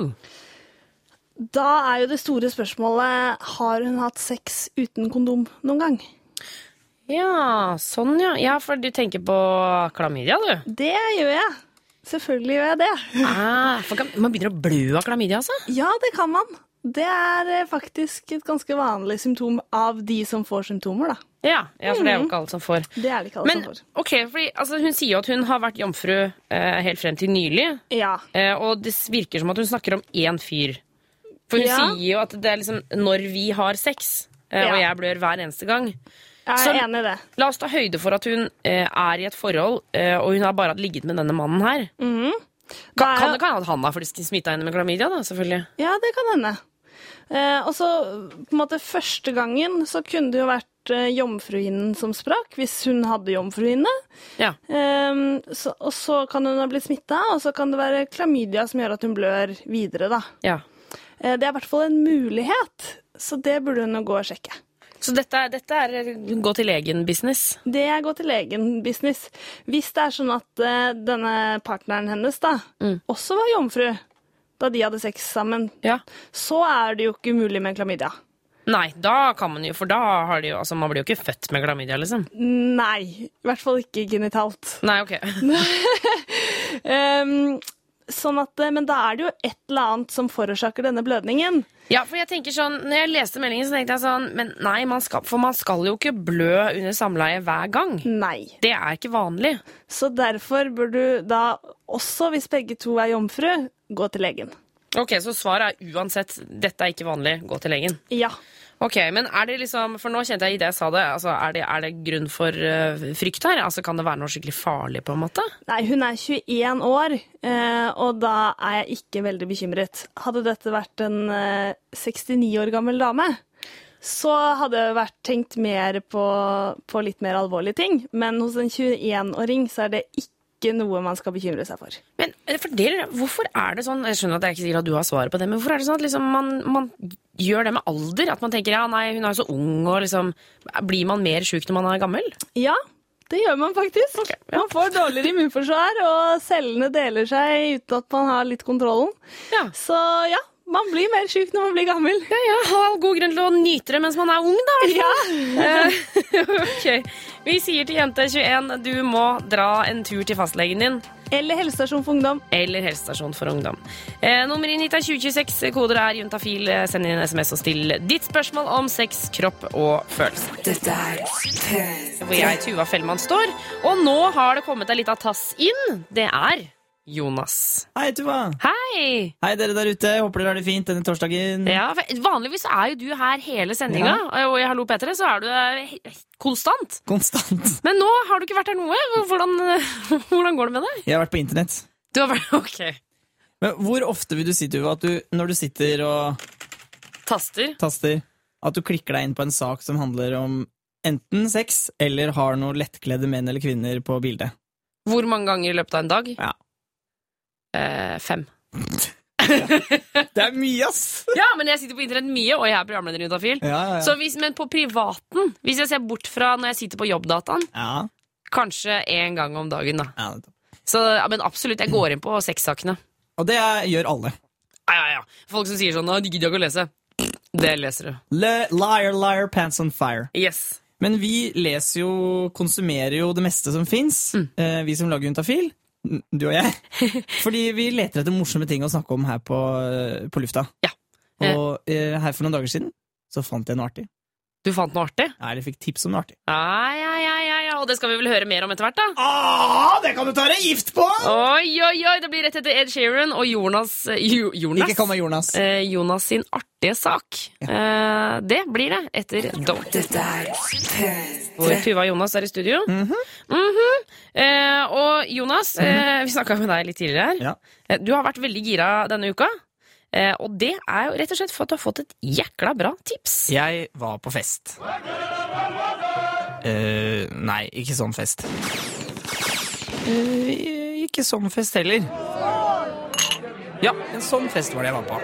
[SPEAKER 11] Da er jo det store spørsmålet har hun hatt sex uten kondom noen gang.
[SPEAKER 3] Ja, sånn ja. Ja, for du tenker på klamydia, du.
[SPEAKER 11] Det gjør jeg. Selvfølgelig gjør jeg det.
[SPEAKER 3] Ah, for kan- man begynner å blø av klamydia, altså?
[SPEAKER 11] Ja, det kan man. Det er eh, faktisk et ganske vanlig symptom av de som får symptomer, da.
[SPEAKER 3] Ja, ja, for det er jo ikke alle som får.
[SPEAKER 11] Det er det ikke alle
[SPEAKER 3] Men
[SPEAKER 11] som får.
[SPEAKER 3] ok, fordi, altså, hun sier jo at hun har vært jomfru eh, helt frem til nylig.
[SPEAKER 11] Ja.
[SPEAKER 3] Eh, og det virker som at hun snakker om én fyr. For hun
[SPEAKER 11] Ja.
[SPEAKER 3] sier jo at det er liksom når vi har sex, eh, og
[SPEAKER 11] Ja.
[SPEAKER 3] jeg blør hver eneste gang.
[SPEAKER 11] Jeg
[SPEAKER 3] Så
[SPEAKER 11] er enig i det.
[SPEAKER 3] la oss ta høyde for at hun eh, er i et forhold, eh, og hun har bare hatt ligget med denne mannen her.
[SPEAKER 11] Mhm. Da
[SPEAKER 3] Kan,
[SPEAKER 11] er
[SPEAKER 3] kan
[SPEAKER 11] jo-
[SPEAKER 3] det kan hende at han har smitta henne med klamydia, da, selvfølgelig.
[SPEAKER 11] Ja, det kan hende. Eh, og så på en måte første gangen så kunne det jo vært eh, jomfruhinnen som sprakk, hvis hun hadde jomfruhinne.
[SPEAKER 3] Ja.
[SPEAKER 11] Ehm, så, og så kan hun ha blitt smitta, og så kan det være klamydia som gjør at hun blør videre, da.
[SPEAKER 3] Ja.
[SPEAKER 11] Eh, det er i hvert fall en mulighet, så det burde hun jo gå og sjekke.
[SPEAKER 3] Så dette, dette er eh, gå til legen-business.
[SPEAKER 11] Det er gå til legen-business. Hvis det er sånn at eh, denne partneren hennes da, også var jomfru da de hadde sex sammen, så er det jo ikke umulig med klamydia.
[SPEAKER 3] Nei, da kan man jo, for da har de jo Altså, man blir jo ikke født med klamydia, liksom.
[SPEAKER 11] Nei. I hvert fall ikke genitalt.
[SPEAKER 3] Nei, ok.
[SPEAKER 11] Ehm, sånn at, eh, men da er det jo et eller annet som forårsaker denne blødningen.
[SPEAKER 3] Ja, for jeg tenker sånn, når jeg leste meldingen, så tenkte jeg sånn Men nei, man skal, for man skal jo ikke blø under samleie hver gang.
[SPEAKER 11] Nei.
[SPEAKER 3] Det er ikke vanlig.
[SPEAKER 11] Så derfor bør du da også, hvis begge to er jomfru, gå til legen.
[SPEAKER 3] Ok, så svaret er uansett dette er ikke vanlig, gå til legen.
[SPEAKER 11] Ja.
[SPEAKER 3] Ok, men er det liksom, for nå kjente jeg i det jeg sa det, altså er det, er det grunn for eh, frykt her? Altså kan det være noe skikkelig farlig på en måte?
[SPEAKER 11] Nei, hun er 21 år, eh, og da er jeg ikke veldig bekymret. Hadde dette vært en eh, 69 år gammel dame, så hadde jeg vært tenkt mer på, på litt mer alvorlige ting. Men hos en 21-åring så er det ikke noe man skal bekymre seg for.
[SPEAKER 3] Men eh, for dere, hvorfor er det sånn, jeg skjønner at jeg ikke sikkert at du har svaret på det, men hvorfor er det sånn at liksom man, man gjør det med alder? At man tenker ja, nei, hun er jo så ung, og liksom Blir man mer sjuk når man er gammel?
[SPEAKER 11] Ja, det gjør man faktisk. Man får dårligere immunforsvar, og cellene deler seg uten at man har litt kontrollen. Så ja, man blir mer syk når man blir gammel.
[SPEAKER 3] Ja, ja, ha god grunn til å nyte det mens man er ung, da. i hvert fall. Eh, ok. Vi sier til jente 21 du må dra en tur til fastlegen din.
[SPEAKER 11] Eller helsestasjon for ungdom.
[SPEAKER 3] Eller helsestasjon for ungdom. Eh, nummeret inn hit er 2026. Koder er juntafil. Eh, Send inn en SMS og still ditt spørsmål om sex, kropp og følelser.
[SPEAKER 2] Dette er P3.
[SPEAKER 3] Hvor jeg, Tuva Fellmann, står. Og nå har det kommet ei lita tass inn. Det er Jonas.
[SPEAKER 13] Hei, Tuva.
[SPEAKER 3] Hei!
[SPEAKER 13] Hei, dere der ute. Håper dere har det fint denne torsdagen.
[SPEAKER 3] Ja, for vanligvis er jo du her hele sendinga, og i Hallo P3 så er du eh, konstant.
[SPEAKER 13] Konstant.
[SPEAKER 3] Men nå har du ikke vært her noe. Hvordan, hvordan går det med deg?
[SPEAKER 13] Jeg har vært på internett.
[SPEAKER 3] Du har vært Ok.
[SPEAKER 13] Men hvor ofte vil du si, Tuva, at du når du sitter og
[SPEAKER 3] Taster.
[SPEAKER 13] taster, at du klikker deg inn på en sak som handler om enten sex eller har noen lettkledde menn eller kvinner på bildet?
[SPEAKER 3] Hvor mange ganger i løpet av en dag?
[SPEAKER 13] Ja.
[SPEAKER 3] Eh, fem.
[SPEAKER 13] Det er mye, ass!
[SPEAKER 3] Ja, men jeg sitter på internett mye, og jeg er programleder i Utafil.
[SPEAKER 13] Ja, ja, ja.
[SPEAKER 3] Så hvis, men på privaten, hvis jeg ser bort fra når jeg sitter på jobbdataen,
[SPEAKER 13] Ja.
[SPEAKER 3] kanskje én gang om dagen, da. Så, ja, men absolutt, jeg går inn på sexsakene.
[SPEAKER 13] Og det gjør alle.
[SPEAKER 3] Ja, ja, ja. Folk som sier sånn 'Å, digger ikke å lese'. Det leser du.
[SPEAKER 13] Le liar, liar, pants on fire.
[SPEAKER 3] Yes.
[SPEAKER 13] Men vi leser jo, konsumerer jo det meste som fins, eh, vi som lager Juntafil. n- Du og jeg. Fordi vi leter etter morsomme ting å snakke om her på, eh, på lufta. Og eh, her for noen dager siden så fant jeg noe artig.
[SPEAKER 3] Du fant noe artig?
[SPEAKER 13] Ja, eller fikk tips om noe artig.
[SPEAKER 3] Ja, ja, ja, ja, ja. og det skal vi vel høre mer om etter hvert, da.
[SPEAKER 4] Ah, det kan du ta deg gift på!
[SPEAKER 3] Oi, oi, oi, det blir rett etter Ed Sheeran og Jonas jo, Jonas?
[SPEAKER 4] Ikke kall meg Jonas.
[SPEAKER 3] Eh, Jonas sin artige sak. Eh, det blir det etter Don't. Hvor Tuva og Jonas er i studio. Mhm. eh, og Jonas,
[SPEAKER 4] Mhm.
[SPEAKER 3] eh, vi snakka med deg litt tidligere her. Eh, Du har vært veldig gira denne uka. Eh, og det er jo rett og slett for at du har fått et jækla bra tips.
[SPEAKER 4] Jeg var på fest. Eh, nei, ikke sånn fest. Eh, ikke sånn fest heller. Ja, en sånn fest var det jeg var på.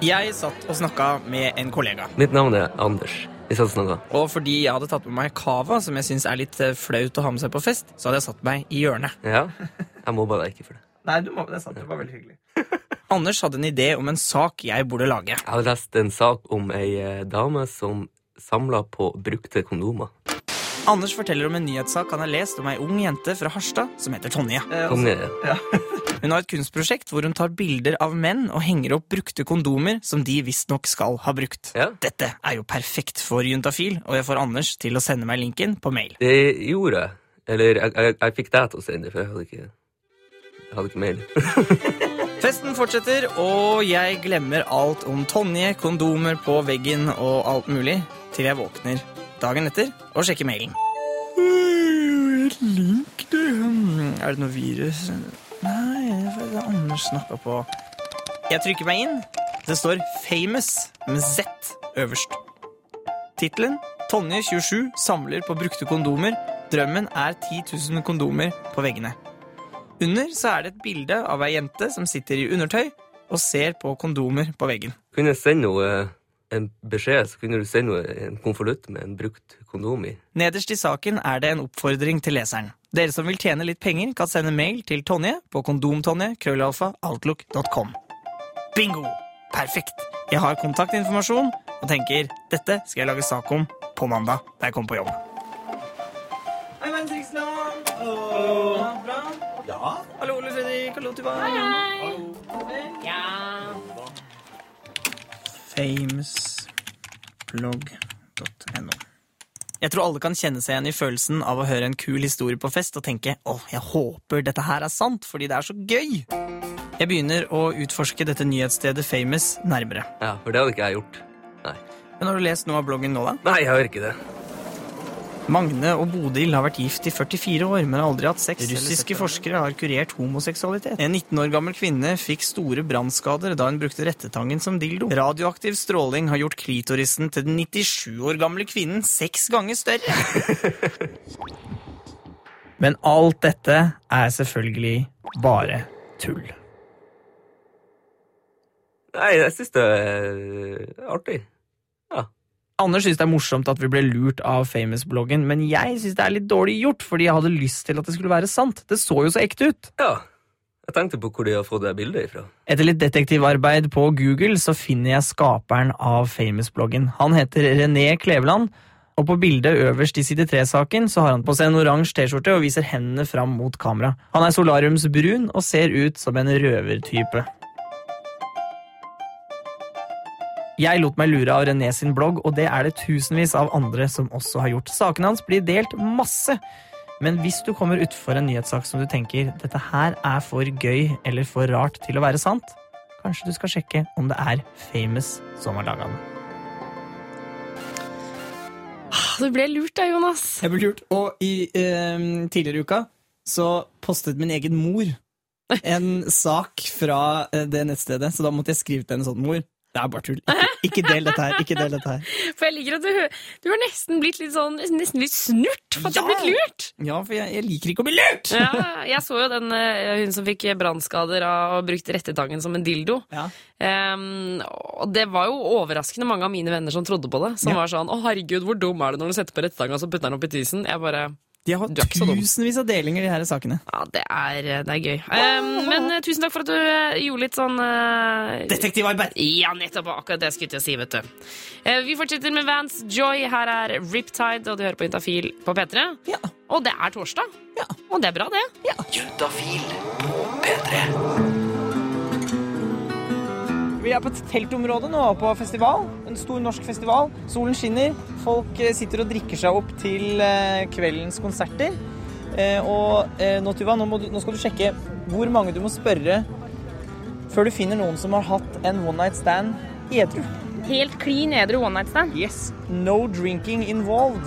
[SPEAKER 4] Jeg satt og snakka med en kollega.
[SPEAKER 14] Mitt navn er Anders. Vi satt og snakka.
[SPEAKER 4] Og fordi jeg hadde tatt med meg cava, som jeg syns er litt eh, flaut å ha med seg på fest, så hadde jeg satt meg i hjørnet.
[SPEAKER 14] Ja. Jeg mobba deg ikke for det.
[SPEAKER 4] Nei, du må, det er sant. Det var veldig hyggelig. Anders hadde en idé om en sak jeg burde lage.
[SPEAKER 14] Jeg har lest en sak om ei eh, dame som samla på brukte kondomer.
[SPEAKER 4] Anders forteller om en nyhetssak han har lest om ei ung jente fra Harstad som heter Tonje.
[SPEAKER 14] Tonje, Eh, altså- ja.
[SPEAKER 4] Hun har et kunstprosjekt hvor hun tar bilder av menn og henger opp brukte kondomer som de visstnok skal ha brukt. Dette er jo perfekt for juntafil, og jeg får Anders til å sende meg linken på mail.
[SPEAKER 14] Det gjorde jeg. Eller jeg, jeg, jeg fikk deg til å sende det, for jeg hadde ikke, jeg hadde ikke mail.
[SPEAKER 4] Festen fortsetter, og jeg glemmer alt om Tonje, kondomer på veggen og alt mulig, til jeg våkner dagen etter og sjekker mailen. Link, du. Er det noe virus? Nei, det er Anders snakka på. Jeg trykker meg inn. Det står Famous med Z øverst. Tittelen Tonje 27 samler på brukte kondomer. Drømmen er 10 000 kondomer på veggene. Under så er det et bilde av ei jente som sitter i undertøy og ser på kondomer på veggen.
[SPEAKER 14] Kunne jeg sende henne eh, en beskjed, så kunne du sende henne en konvolutt med en brukt kondom i.
[SPEAKER 4] Nederst i saken er det en oppfordring til leseren. Dere som vil tjene litt penger, kan sende mail til Tonje på kondomtonje.krøllalfa.outlook.com. Bingo! Perfekt. Jeg har kontaktinformasjon og tenker dette skal jeg lage sak om på mandag da jeg kommer på jobb. Hei, verdens rikeste land! Åh, bra? Ja. Hallo, Ole Fredrik. Hallo, Tuva. Hei, hei.
[SPEAKER 3] Ja.
[SPEAKER 4] Famousblogg.no. Jeg tror alle kan kjenne seg igjen i følelsen av å høre en kul historie på fest og tenke åh, jeg håper dette her er sant, fordi det er så gøy. Jeg begynner å utforske dette nyhetsstedet Famous nærmere.
[SPEAKER 14] Ja, For det hadde ikke jeg gjort.
[SPEAKER 4] Men har du lest noe av bloggen nå, da?
[SPEAKER 14] Nei, jeg har ikke det.
[SPEAKER 4] Magne og Bodil har vært gift i 44 år, men har aldri hatt sex. Russiske forskere har kurert homoseksualitet. En 19 år gammel kvinne fikk store brannskader da hun brukte rettetangen som dildo. Radioaktiv stråling har gjort klitorisen til den 97 år gamle kvinnen seks ganger større. men alt dette er selvfølgelig bare tull.
[SPEAKER 14] Nei, jeg syns det er artig.
[SPEAKER 4] Anders syns det er morsomt at vi ble lurt av Famous-bloggen, men jeg syns det er litt dårlig gjort, fordi jeg hadde lyst til at det skulle være sant. Det så jo så ekte ut.
[SPEAKER 14] Ja. Jeg tenkte på hvor de har fått det bildet ifra.
[SPEAKER 4] Etter litt detektivarbeid på Google så finner jeg skaperen av Famous-bloggen. Han heter René Kleveland, og på bildet øverst i side 3-saken så har han på seg en oransje T-skjorte og viser hendene fram mot kamera. Han er solariumsbrun og ser ut som en røvertype. Jeg lot meg lure av René sin blogg, og det er det tusenvis av andre som også har gjort. Sakene hans blir delt masse. Men hvis du kommer utfor en nyhetssak som du tenker dette her er for gøy eller for rart til å være sant, kanskje du skal sjekke om det er Famous som har laga den.
[SPEAKER 3] Ah, Du ble lurt da, Jonas.
[SPEAKER 4] Jeg ble lurt. Og i eh, tidligere i uka så postet min egen mor en sak fra eh, det nettstedet, så da måtte jeg skrive til henne sånn, mor, det er bare tull. Ikke, ikke del dette her. Ikke del dette her.
[SPEAKER 3] For jeg liker at du, du har nesten blitt litt sånn Nesten litt snurt for at du har blitt lurt.
[SPEAKER 4] Ja, for jeg, jeg liker ikke å bli lurt!
[SPEAKER 3] Ja, jeg så jo den eh, hun som fikk brannskader av å ha brukt rettetangen som en dildo. Ehm, og det var jo overraskende mange av mine venner som trodde på det. Som
[SPEAKER 4] Ja.
[SPEAKER 3] var sånn 'Å, herregud, hvor dum er du når du setter på rettetanga og så putter den opp i tisen?' Jeg bare
[SPEAKER 4] De har
[SPEAKER 3] Du er ikke så dum.
[SPEAKER 4] tusenvis av delinger, de her sakene.
[SPEAKER 3] Ja, det er, det er gøy. Ehm, men eh, tusen takk for at du eh, gjorde litt sånn eh,
[SPEAKER 4] Detektivarbeid!
[SPEAKER 3] Ja, nettopp. Akkurat det jeg skulle til å si, vet du. Eh, vi fortsetter med Vans Joy. Her er Riptide, og du hører på Intafil på P3. Og det er torsdag. Og det er bra, det.
[SPEAKER 11] Juntafil på P3.
[SPEAKER 4] Vi
[SPEAKER 13] Vi er på et teltområde nå, på festival. En stor norsk festival. Solen skinner. Folk eh, sitter og drikker seg opp til eh, kveldens konserter. Eh, Og eh, nå, Tuva, nå, må du, nå skal du sjekke hvor mange du må spørre før du finner noen som har hatt en one night stand edru.
[SPEAKER 3] Helt klin edru one night stand?
[SPEAKER 13] Yes. No drinking involved.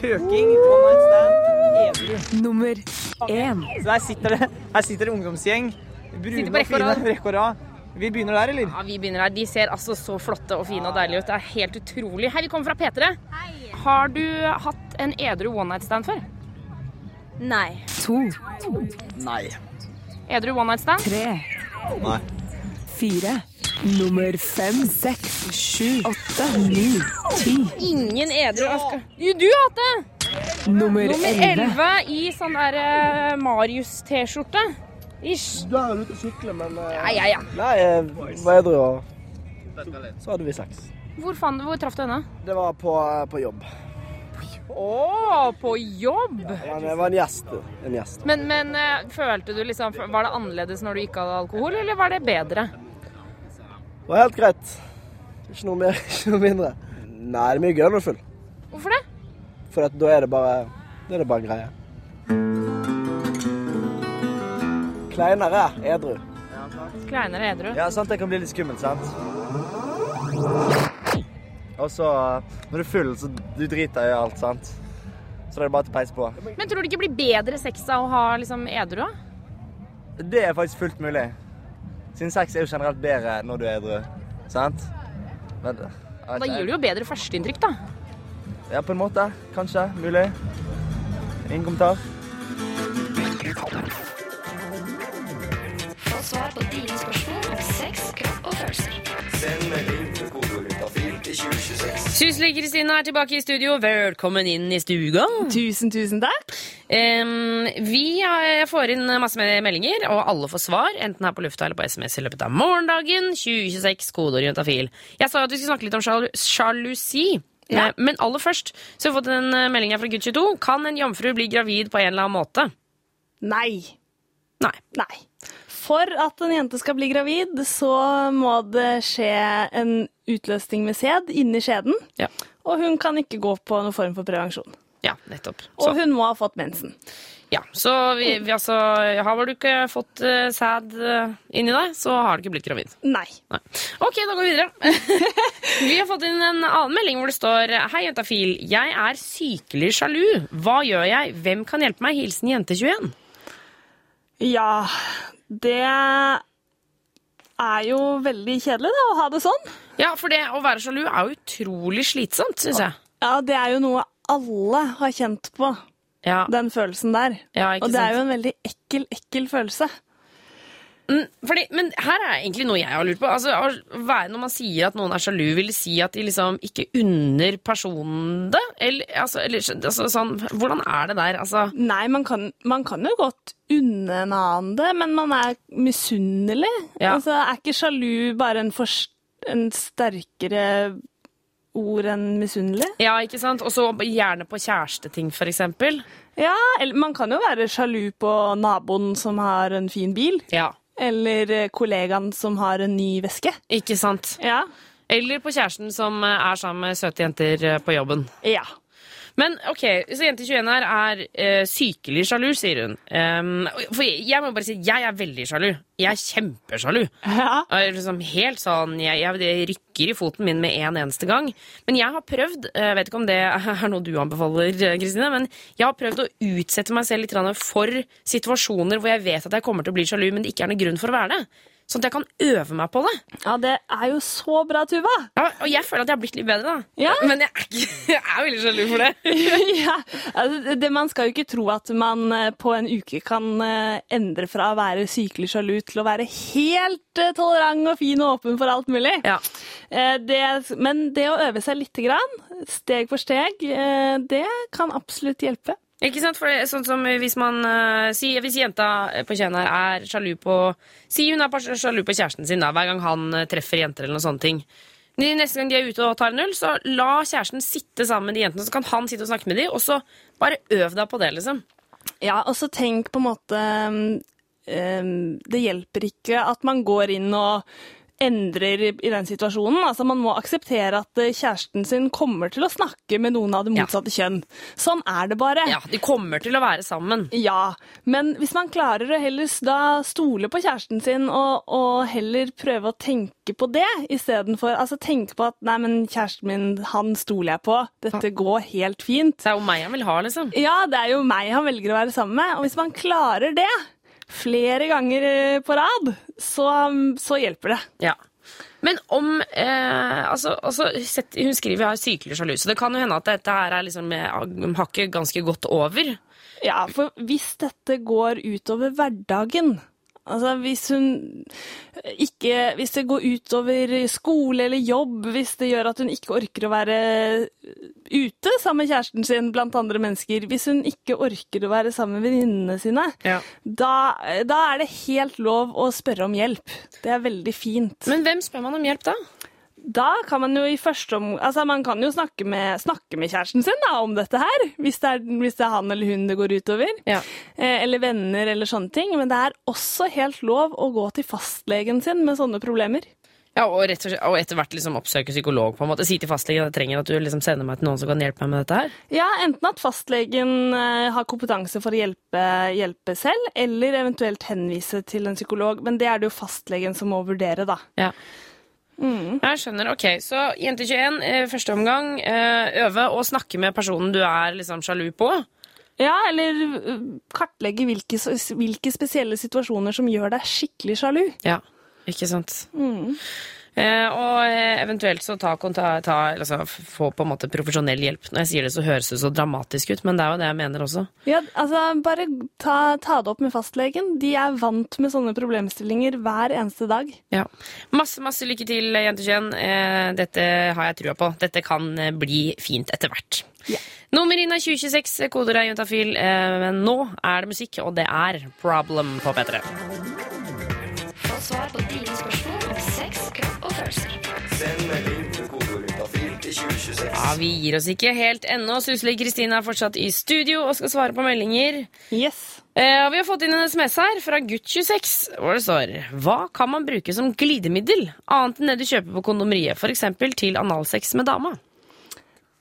[SPEAKER 13] Pøking, one night stand, edru. Nummer én. Så der sitter det, her sitter det ungdomsgjeng.
[SPEAKER 3] Sitter
[SPEAKER 13] Brune
[SPEAKER 3] på
[SPEAKER 13] og
[SPEAKER 3] rekke og
[SPEAKER 13] fine.
[SPEAKER 3] rad.
[SPEAKER 13] Rekke og rad. Vi begynner der, eller?
[SPEAKER 3] Ja, vi begynner der. De ser altså så flotte og fine og deilige ut. Det er helt utrolig. Hei, vi kommer fra P3. Har du hatt en edru one night stand før? Nei. To.
[SPEAKER 15] Nei.
[SPEAKER 3] Edru one night stand?
[SPEAKER 15] Tre. Nei. Fire. Nummer fem, seks, sju, åtte, ni, ti.
[SPEAKER 3] Ingen edru Aska. Jo, du har hatt det!
[SPEAKER 15] Nummer
[SPEAKER 3] Nummer
[SPEAKER 15] elleve.
[SPEAKER 3] 11 i sånn der eh, Marius-T-skjorte. Ish.
[SPEAKER 14] Da er du ute og sykler, men eh,
[SPEAKER 3] Ja, ja, ja.
[SPEAKER 14] Nei, jeg var edru, og så hadde vi sex.
[SPEAKER 3] Hvor, faen, hvor traff du henne?
[SPEAKER 14] Det var på, på jobb.
[SPEAKER 3] Å, på jobb!
[SPEAKER 14] Men jeg var en gjest. du. En gjest.
[SPEAKER 3] Men, men eh, følte du liksom Var det annerledes når du ikke hadde alkohol, eller var det bedre?
[SPEAKER 14] Det var helt greit. Ikke noe mer, ikke noe mindre. Nei, det er mye gøy når du er full.
[SPEAKER 3] Hvorfor det?
[SPEAKER 14] For at da er det bare Da er det bare greie. Kleinere edru.
[SPEAKER 3] Kleinere edru.
[SPEAKER 14] Ja, sant, det kan bli litt skummelt, sant? Og så, eh, når du er full, så du driter i alt, sant? Så da er det bare til å peise på.
[SPEAKER 3] Men tror du ikke blir bedre sex av å ha liksom edru? da?
[SPEAKER 14] Det er faktisk fullt mulig. Siden sex er jo generelt bedre når du er edru, sant? Men, eh,
[SPEAKER 3] Da gir du jo bedre førsteinntrykk, da.
[SPEAKER 14] Ja, på en måte. Kanskje. Mulig. Ingen kommentar.
[SPEAKER 10] Få svar på dine spørsmål om sex, kropp og følelser.
[SPEAKER 12] Send melding til kodeordet «Tafil» til 2026.
[SPEAKER 3] Sysle Kristine er tilbake i studio. Velkommen inn i stuga.
[SPEAKER 15] Tusen, tusen takk.
[SPEAKER 3] vi eh, får inn masse med meldinger, og alle får svar. Enten her på lufta eller på SMS i løpet av morgendagen. 2026, kodeord juntafil. Jeg sa jo at vi skulle snakke litt om sjalu sjalusi.
[SPEAKER 9] Ja.
[SPEAKER 3] Eh, Men aller først så har vi fått en eh, melding her fra gutt 22. Kan en jomfru bli gravid på en eller annen måte?
[SPEAKER 11] Nei.
[SPEAKER 3] Nei.
[SPEAKER 11] For at en jente skal bli gravid, så må det skje en utløsning med sæd inni skjeden.
[SPEAKER 3] Ja.
[SPEAKER 11] Og hun kan ikke gå på noen form for prevensjon.
[SPEAKER 3] Ja, nettopp.
[SPEAKER 11] Og hun må ha fått mensen.
[SPEAKER 3] Ja, så vi, vi altså, har du ikke fått eh, sæd eh, inni deg, så har du ikke blitt gravid.
[SPEAKER 11] Nei.
[SPEAKER 3] Ok, da går vi videre. vi har fått inn en annen melding hvor det står Hei, jentafil. Jeg er sykelig sjalu. Hva gjør jeg? Hvem kan hjelpe meg? Hilsen jente21.
[SPEAKER 11] Ja, det er jo veldig kjedelig da, å ha det sånn.
[SPEAKER 3] Ja, for det å være sjalu er jo utrolig slitsomt, syns jeg.
[SPEAKER 11] Ja, det er jo noe alle har kjent på, den følelsen der.
[SPEAKER 3] Ja, ikke
[SPEAKER 11] og det
[SPEAKER 3] sant?
[SPEAKER 11] er jo en veldig ekkel, ekkel følelse.
[SPEAKER 3] Mm, Fordi, men her er egentlig noe jeg har lurt på. Altså, å være- når man sier at noen er sjalu, vil det si at de liksom ikke unner personen det? Eller, altså, eller altså, sånn, hvordan er det der? Altså,
[SPEAKER 11] Nei, man kan, man kan jo godt unne en annen det, men man er misunnelig.
[SPEAKER 3] Ja.
[SPEAKER 11] Altså, er ikke sjalu bare en, fors- en sterkere ord enn misunnelig?
[SPEAKER 3] ja, ikke sant? Og så gjerne på kjæresteting, for eksempel.
[SPEAKER 11] Ja, eller man kan jo være sjalu på naboen som har en fin bil. Eller eh, kollegaen som har en ny veske.
[SPEAKER 3] Ikke sant?
[SPEAKER 11] Ja.
[SPEAKER 3] Eller på kjæresten som eh, er sammen med søte jenter eh, på jobben.
[SPEAKER 11] Ja.
[SPEAKER 3] Men ok, så jente 21 her er eh, sykelig sjalu, sier hun. Ehm, for jeg, jeg må bare si, jeg er veldig sjalu. Jeg er kjempesjalu. Jeg er liksom helt sånn, jeg, jeg, det rykker i foten min med en eneste gang. Men jeg har prøvd, eh, jeg vet ikke om det er noe du anbefaler, eh, Kristine, men jeg har prøvd å utsette meg selv litt grann for situasjoner hvor jeg vet at jeg kommer til å bli sjalu, men det ikke er noen grunn for å være det. Sånn at jeg kan øve meg på det.
[SPEAKER 11] Ja, det er jo så bra, Tuva.
[SPEAKER 3] Ja, og jeg føler at jeg har blitt litt bedre, da.
[SPEAKER 11] Ja.
[SPEAKER 3] Men jeg er, ikke, jeg er veldig sjalu for det.
[SPEAKER 11] ja, altså, det- det, man skal jo ikke tro at man eh, på en uke kan eh, endre fra å være sykelig sjalu til å være helt eh, tolerant og fin og åpen for alt mulig. Eh, Det, men det å øve seg lite grann, steg for steg, eh, det kan absolutt hjelpe.
[SPEAKER 3] Ikke sant? For det er sånn som hvis man eh, si, Hvis jenta på kjønn her er sjalu på Si hun er på- sjalu på kjæresten sin da, hver gang han eh, treffer jenter eller noen sånne ting. De, neste gang de er ute og tar en øl, så la kjæresten sitte sammen med de jentene. Så kan han sitte og snakke med de, og så bare øv deg på det, liksom.
[SPEAKER 11] Ja, og så tenk ehm, på en måte um, um, Det hjelper ikke at man går inn og endrer i den situasjonen. Altså, man må akseptere at eh, kjæresten sin kommer til å snakke med noen av det motsatte kjønn. Sånn er det bare.
[SPEAKER 3] Ja, De kommer til å være sammen.
[SPEAKER 11] Ja, men hvis man klarer å heller s- da stole på kjæresten sin og, og heller prøve å tenke på det istedenfor altså tenke på at nei, men kjæresten min, han stoler jeg på, dette går helt fint.
[SPEAKER 3] Det er jo meg han vil ha, liksom.
[SPEAKER 11] Ja, det er jo meg han velger å være sammen med. Og hvis man klarer det flere ganger eh, på rad, så, så hjelper det.
[SPEAKER 3] Ja. Men om eh, altså, altså, sett, Hun skriver jeg er sykelig sjalu, så det kan jo hende at dette her er liksom, eh, hakket ganske godt over.
[SPEAKER 11] Ja, for hvis dette går utover hverdagen Altså hvis hun ikke Hvis det går utover skole eller jobb, hvis det gjør at hun ikke orker å være eh, ute sammen med kjæresten sin blant andre mennesker, hvis hun ikke orker å være sammen med venninnene sine, da, eh, da er det helt lov å spørre om hjelp. Det er veldig fint.
[SPEAKER 3] Men hvem spør man om hjelp da?
[SPEAKER 11] Da kan man jo i første om... Altså, man kan jo snakke med, snakke med kjæresten sin da, om dette her, hvis det, er, hvis det er han eller hun det går utover. Eh, eller venner eller sånne ting. Men det er også helt lov å gå til fastlegen sin med sånne problemer.
[SPEAKER 3] Ja, og, rett og, slett, og etter hvert liksom oppsøke psykolog. på en måte Si til fastlegen at jeg trenger at du liksom sender meg til noen som kan hjelpe meg med dette her.
[SPEAKER 11] Ja, enten at fastlegen eh, har kompetanse for å hjelpe, hjelpe selv, eller eventuelt henvise til en psykolog. Men det er det jo fastlegen som må vurdere, da.
[SPEAKER 3] Ja. Jeg skjønner. Ok, så jente 21, eh, første omgang. eh, Øve å snakke med personen du er liksom sjalu på.
[SPEAKER 11] Ja, eller eh, kartlegge hvilke, hvilke spesielle situasjoner som gjør deg skikkelig sjalu.
[SPEAKER 3] Ja, ikke sant. Eh, og eh, eventuelt så ta, konta- ta altså, f- få på en måte profesjonell hjelp. Når jeg sier det, så høres det så dramatisk ut, men det er jo det jeg mener også.
[SPEAKER 11] Ja, altså Bare ta, ta det opp med fastlegen. De er vant med sånne problemstillinger hver eneste dag.
[SPEAKER 3] Ja. Masse, masse lykke til, jente 21. Eh, dette har jeg trua på. Dette kan eh, bli fint etter hvert. Nummer inn er 2026, koder er juntafil. Eh, men nå er det musikk, og det er Problem på P3.
[SPEAKER 10] Få svar på dine spørsmål om sex, kropp og følelser.
[SPEAKER 12] Send melding til kodeord juntafil til 2026.
[SPEAKER 3] Ja, Vi gir oss ikke helt ennå. Susli Kristine er fortsatt i studio og skal svare på meldinger.
[SPEAKER 11] Yes.
[SPEAKER 3] Eh, og vi har fått inn en SMS her fra gutt26, hvor det står Hva kan man bruke som glidemiddel annet enn det du kjøper på kondomeriet, f.eks. til analsex med dama?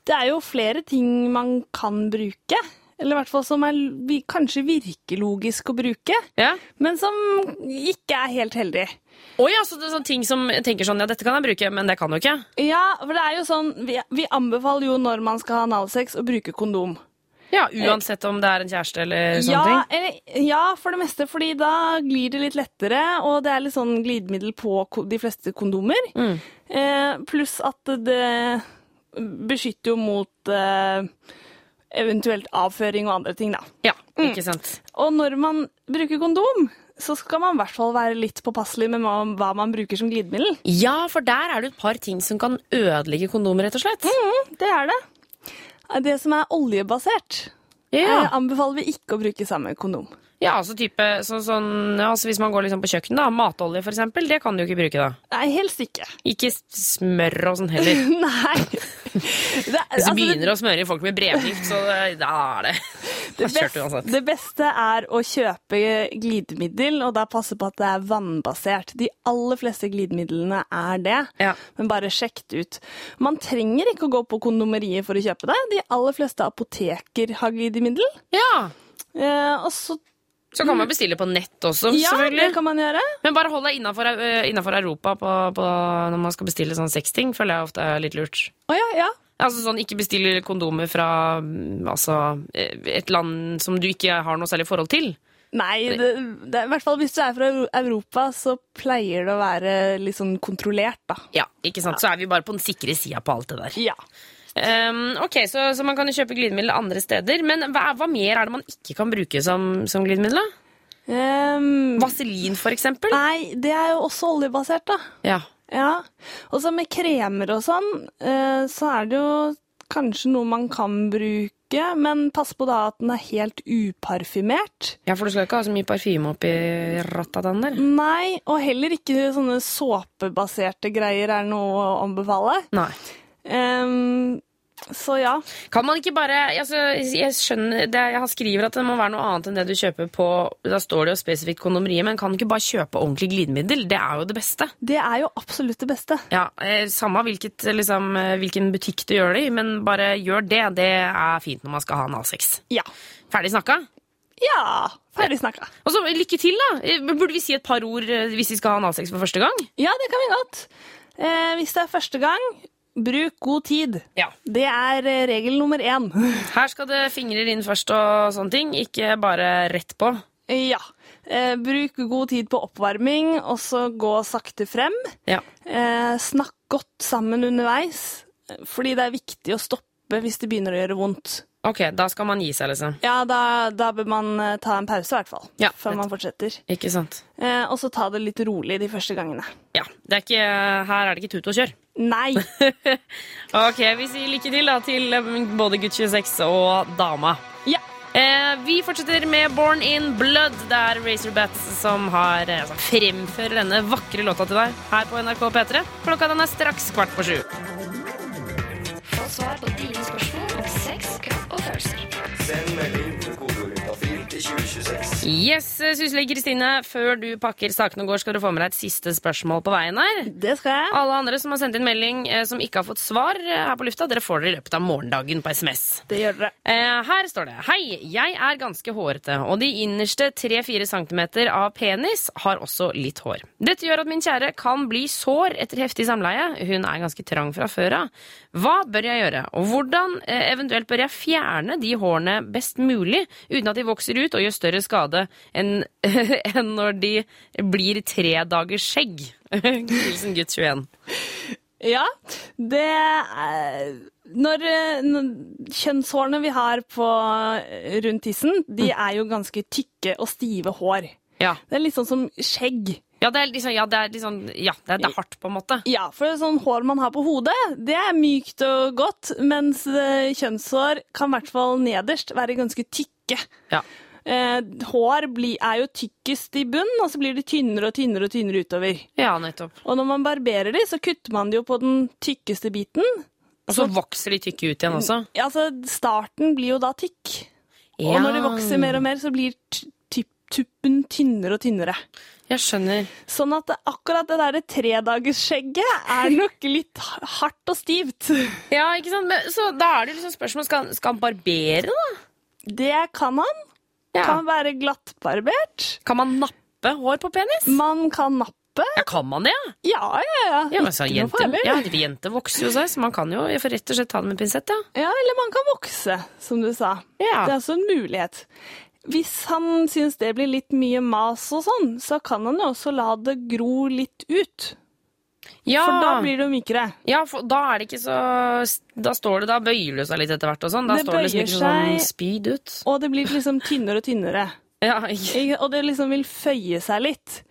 [SPEAKER 11] Det er jo flere ting man kan bruke. Eller i hvert fall som er, vi- kanskje virker logisk å bruke, men som ikke er helt heldig.
[SPEAKER 3] Oi, altså det er sånne ting som jeg tenker sånn Ja, dette kan jeg bruke, men det kan du ikke.
[SPEAKER 11] Ja, for det er jo sånn Vi, vi anbefaler jo når man skal ha analsex, å bruke kondom.
[SPEAKER 3] Ja, Eh, Uansett om det er en kjæreste eller sånne
[SPEAKER 11] Ja,
[SPEAKER 3] ting.
[SPEAKER 11] eller, ja, for det meste, fordi da glir det litt lettere, og det er litt sånn glidemiddel på ko- de fleste kondomer.
[SPEAKER 3] Mm.
[SPEAKER 11] Eh, pluss at det beskytter jo mot eh, eventuelt avføring og andre ting, da.
[SPEAKER 3] Ja, ikke sant.
[SPEAKER 11] Og når man bruker kondom, så skal man i hvert fall være litt påpasselig med hva- hva man bruker som glidemiddel.
[SPEAKER 3] Ja, for der er det et par ting som kan ødelegge kondomer, rett og slett.
[SPEAKER 11] Mm, det er det. Det som er oljebasert,
[SPEAKER 3] Ja.
[SPEAKER 11] eh, anbefaler vi ikke å bruke sammen med kondom.
[SPEAKER 3] Ja, altså type så, sånn ja, altså Hvis man går liksom på kjøkkenet, da. Matolje, for eksempel. Det kan du ikke bruke, da.
[SPEAKER 11] Nei, helst ikke.
[SPEAKER 3] Ikke s- smør og sånn heller.
[SPEAKER 11] Nei.
[SPEAKER 3] Hvis
[SPEAKER 11] altså,
[SPEAKER 3] du begynner å smøre folk med brevgift, så eh, da er det
[SPEAKER 11] Det,
[SPEAKER 3] Da kjørte du
[SPEAKER 11] best,
[SPEAKER 3] uansett.
[SPEAKER 11] det beste er å kjøpe glidemiddel, og da passe på at det er vannbasert. De aller fleste glidemidlene er det, men bare sjekk det ut. Man trenger ikke å gå på kondomeriet for å kjøpe det. De aller fleste apoteker har glidemiddel.
[SPEAKER 3] Ja.
[SPEAKER 11] Eh, og så
[SPEAKER 3] Så kan man bestille på nett også,
[SPEAKER 11] Ja,
[SPEAKER 3] selvfølgelig.
[SPEAKER 11] det kan man gjøre.
[SPEAKER 3] Men bare hold deg innafor Europa på, på, når man skal bestille sånn sexting, føler jeg ofte er litt lurt.
[SPEAKER 11] Å ja, ja.
[SPEAKER 3] Altså sånn, Ikke bestille kondomer fra mm, altså, eh, et land som du ikke har noe særlig forhold til.
[SPEAKER 11] Nei, det, det, er- i hvert fall hvis du er fra Eu- Europa, så pleier det å være litt sånn kontrollert, da.
[SPEAKER 3] Ja, ikke sant? Så er vi bare på den sikre sida på alt det der.
[SPEAKER 11] Ja.
[SPEAKER 3] Um, ok, så, så man kan jo kjøpe glidemiddel andre steder. Men hva, hva mer er det man ikke kan bruke som, som glidemiddel? da? Vaselin, for eksempel?
[SPEAKER 11] Ehm, Nei, det er jo også oljebasert, da.
[SPEAKER 3] Ja.
[SPEAKER 11] Ja, og så med kremer og sånn, eh, så er det jo kanskje noe man kan bruke, men pass på da at den er helt uparfymert.
[SPEAKER 3] ja, for du skal ikke ha så mye parfyme oppi rattatan der.
[SPEAKER 11] Nei, og heller ikke sånne såpebaserte greier er noe å anbefale.
[SPEAKER 3] Nei.
[SPEAKER 11] Ehm, Så ja.
[SPEAKER 3] Kan man ikke bare altså, Jeg skjønner, det, jeg skriver at det må være noe annet enn det du kjøper på Da står det jo spesifikt kondomeriet, men kan du ikke bare kjøpe ordentlig glidemiddel? Det er jo det beste.
[SPEAKER 11] Det er jo absolutt det beste.
[SPEAKER 3] Ja, eh, Samme hvilket, liksom, eh, hvilken butikk du gjør det i, men bare gjør det. Det er fint når man skal ha analsex.
[SPEAKER 11] Ja.
[SPEAKER 3] Ferdig snakka?
[SPEAKER 11] Ja. Ferdig snakka.
[SPEAKER 3] Og så Lykke til, da! Eh, Burde vi si et par ord eh, hvis vi skal ha analsex for første gang?
[SPEAKER 11] Ja, det kan vi godt. Eh, hvis det er første gang, bruk god tid. Det er eh, regel nummer én.
[SPEAKER 3] Her skal det fingrer inn først og sånne ting, ikke bare rett på.
[SPEAKER 11] Ja. Eh, bruk god tid på oppvarming, og så gå sakte frem.
[SPEAKER 3] Ja.
[SPEAKER 11] Eh, snakk godt sammen underveis, fordi det er viktig å stoppe hvis det begynner å gjøre vondt.
[SPEAKER 3] Ok, da skal man gi seg, liksom.
[SPEAKER 11] Ja, da, da bør man eh, ta en pause, i hvert fall, før man fortsetter.
[SPEAKER 3] Ikke sant.
[SPEAKER 11] Eh, og så ta det litt rolig de første gangene.
[SPEAKER 3] Ja, det er ikke, Her er det ikke tut og kjør.
[SPEAKER 11] Nei!
[SPEAKER 3] Ok, vi sier lykke til da til um, både gutt 26 og dama.
[SPEAKER 11] Ja.
[SPEAKER 3] Eh, vi fortsetter med Born in Blood. Det er Razor Bats som har, eh, som fremfører denne vakre låta til deg her på NRK P3. Klokka den er straks kvart på sju.
[SPEAKER 10] Få svar på dine spørsmål om sex, kropp og følelser.
[SPEAKER 12] Send melding til kodeord juntafil til 2026.
[SPEAKER 3] Yes, eh, Susle Kristine, før du pakker sakene og går, skal du få med deg et siste spørsmål på veien her.
[SPEAKER 11] Det skal jeg.
[SPEAKER 3] Alle andre som har sendt inn melding eh, som ikke har fått svar eh, her på lufta, dere får det i løpet av morgendagen på SMS.
[SPEAKER 11] Det gjør dere.
[SPEAKER 3] Eh, her står det Hei, jeg er ganske hårete, og de innerste 3-4 cm av penis har også litt hår. Dette gjør at min kjære kan bli sår etter heftig samleie. Hun er ganske trang fra før av. Hva bør jeg gjøre, og hvordan eh, eventuelt bør jeg fjerne de hårene best mulig, uten at de vokser ut og gjør større skade enn enn når de blir tre dagers skjegg? Hilsen gutt 21.
[SPEAKER 11] Ja, det er når, eh, når Kjønnshårene vi har på eh, rundt tissen, de er jo ganske tykke og stive hår.
[SPEAKER 3] Ja.
[SPEAKER 11] Det er litt sånn som skjegg.
[SPEAKER 3] Ja, det er liksom, ja, det er, liksom, ja, det er, det er hardt, på en måte.
[SPEAKER 11] Ja, for det er sånn hår man har på hodet, det er mykt og godt, mens eh, kjønnshår kan i hvert fall nederst være ganske tykke.
[SPEAKER 3] Ja.
[SPEAKER 11] Eh, Hår blir- er jo tykkest i bunn, og så blir de tynnere og tynnere og tynnere utover.
[SPEAKER 3] Ja, nettopp.
[SPEAKER 11] Og når man barberer de, så kutter man det jo på den tykkeste biten.
[SPEAKER 3] Og så vokser de tykke ut igjen også.
[SPEAKER 11] Ja, altså starten blir jo da tykk.
[SPEAKER 3] Ja.
[SPEAKER 11] Og når de vokser mer og mer, så blir t- ty- tuppen tynnere og tynnere.
[SPEAKER 3] Jeg skjønner.
[SPEAKER 11] Sånn at det- akkurat det derre tredagersskjegget er nok litt ha- hardt og stivt.
[SPEAKER 3] Ja, ikke sant? Men, så da er det liksom spørsmål skal, han- skal han barbere, da?
[SPEAKER 11] Det kan han. Kan være glattbarbert.
[SPEAKER 3] Kan man nappe hår på penis?
[SPEAKER 11] Man kan nappe.
[SPEAKER 3] Ja, kan man det? Mm. ja?
[SPEAKER 11] Ja, ja, ja.
[SPEAKER 3] Ja, men så
[SPEAKER 11] Ikke noe
[SPEAKER 3] jenter,
[SPEAKER 11] farlig.
[SPEAKER 3] ja, jenter vokser jo seg, så man kan jo jeg får rett og slett ta det med pinsett. Ja.
[SPEAKER 11] Ja, eller man kan vokse, som du sa.
[SPEAKER 3] Ja.
[SPEAKER 11] Det er også en mulighet. Hvis han syns det blir litt mye mas og sånn, så kan han jo også la det gro litt ut.
[SPEAKER 3] Ja.
[SPEAKER 11] For da blir det jo mykere.
[SPEAKER 3] Ja, for da er det ikke så Da står det, da bøyer det seg litt etter hvert og sånn. Da
[SPEAKER 11] Det
[SPEAKER 3] står det liksom
[SPEAKER 11] bøyer
[SPEAKER 3] ikke sånn
[SPEAKER 11] seg.
[SPEAKER 3] speed ut.
[SPEAKER 11] Og det blir liksom tynnere og tynnere. Ikke- Og det liksom vil føye seg litt.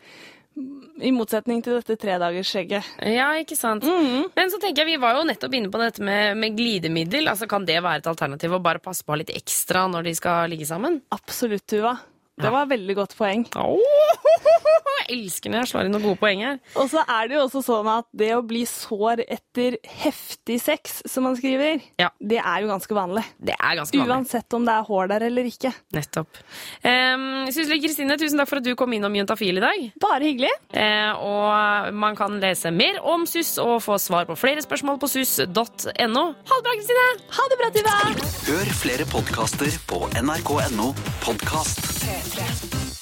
[SPEAKER 11] I motsetning til dette tredagersskjegget.
[SPEAKER 3] Ja, ikke sant.
[SPEAKER 11] Mm.
[SPEAKER 3] Men så tenker jeg, vi var jo nettopp inne på dette med, med glidemiddel. Altså, Kan det være et alternativ å bare passe på å ha litt ekstra når de skal ligge sammen?
[SPEAKER 11] Absolutt, Tuva. Det var et veldig godt poeng.
[SPEAKER 3] Jeg elsker når jeg slår inn noen gode poeng her.
[SPEAKER 11] Og så er det jo også sånn at det å bli sår etter heftig sex, som man skriver, det er jo ganske vanlig.
[SPEAKER 3] Det er ganske vanlig.
[SPEAKER 11] Uansett om det er hår der eller ikke.
[SPEAKER 3] Nettopp. Um, Sysle Kristine, tusen takk for at du kom innom Juntafil i dag. Eh,
[SPEAKER 11] Bare hyggelig.
[SPEAKER 3] og man kan lese mer om SUS og få svar på flere spørsmål på sus.no. Ha det bra, Kristine!
[SPEAKER 11] Ha det bra, Tuva!
[SPEAKER 1] Hør flere podkaster på nrk.no podkast.
[SPEAKER 2] P3.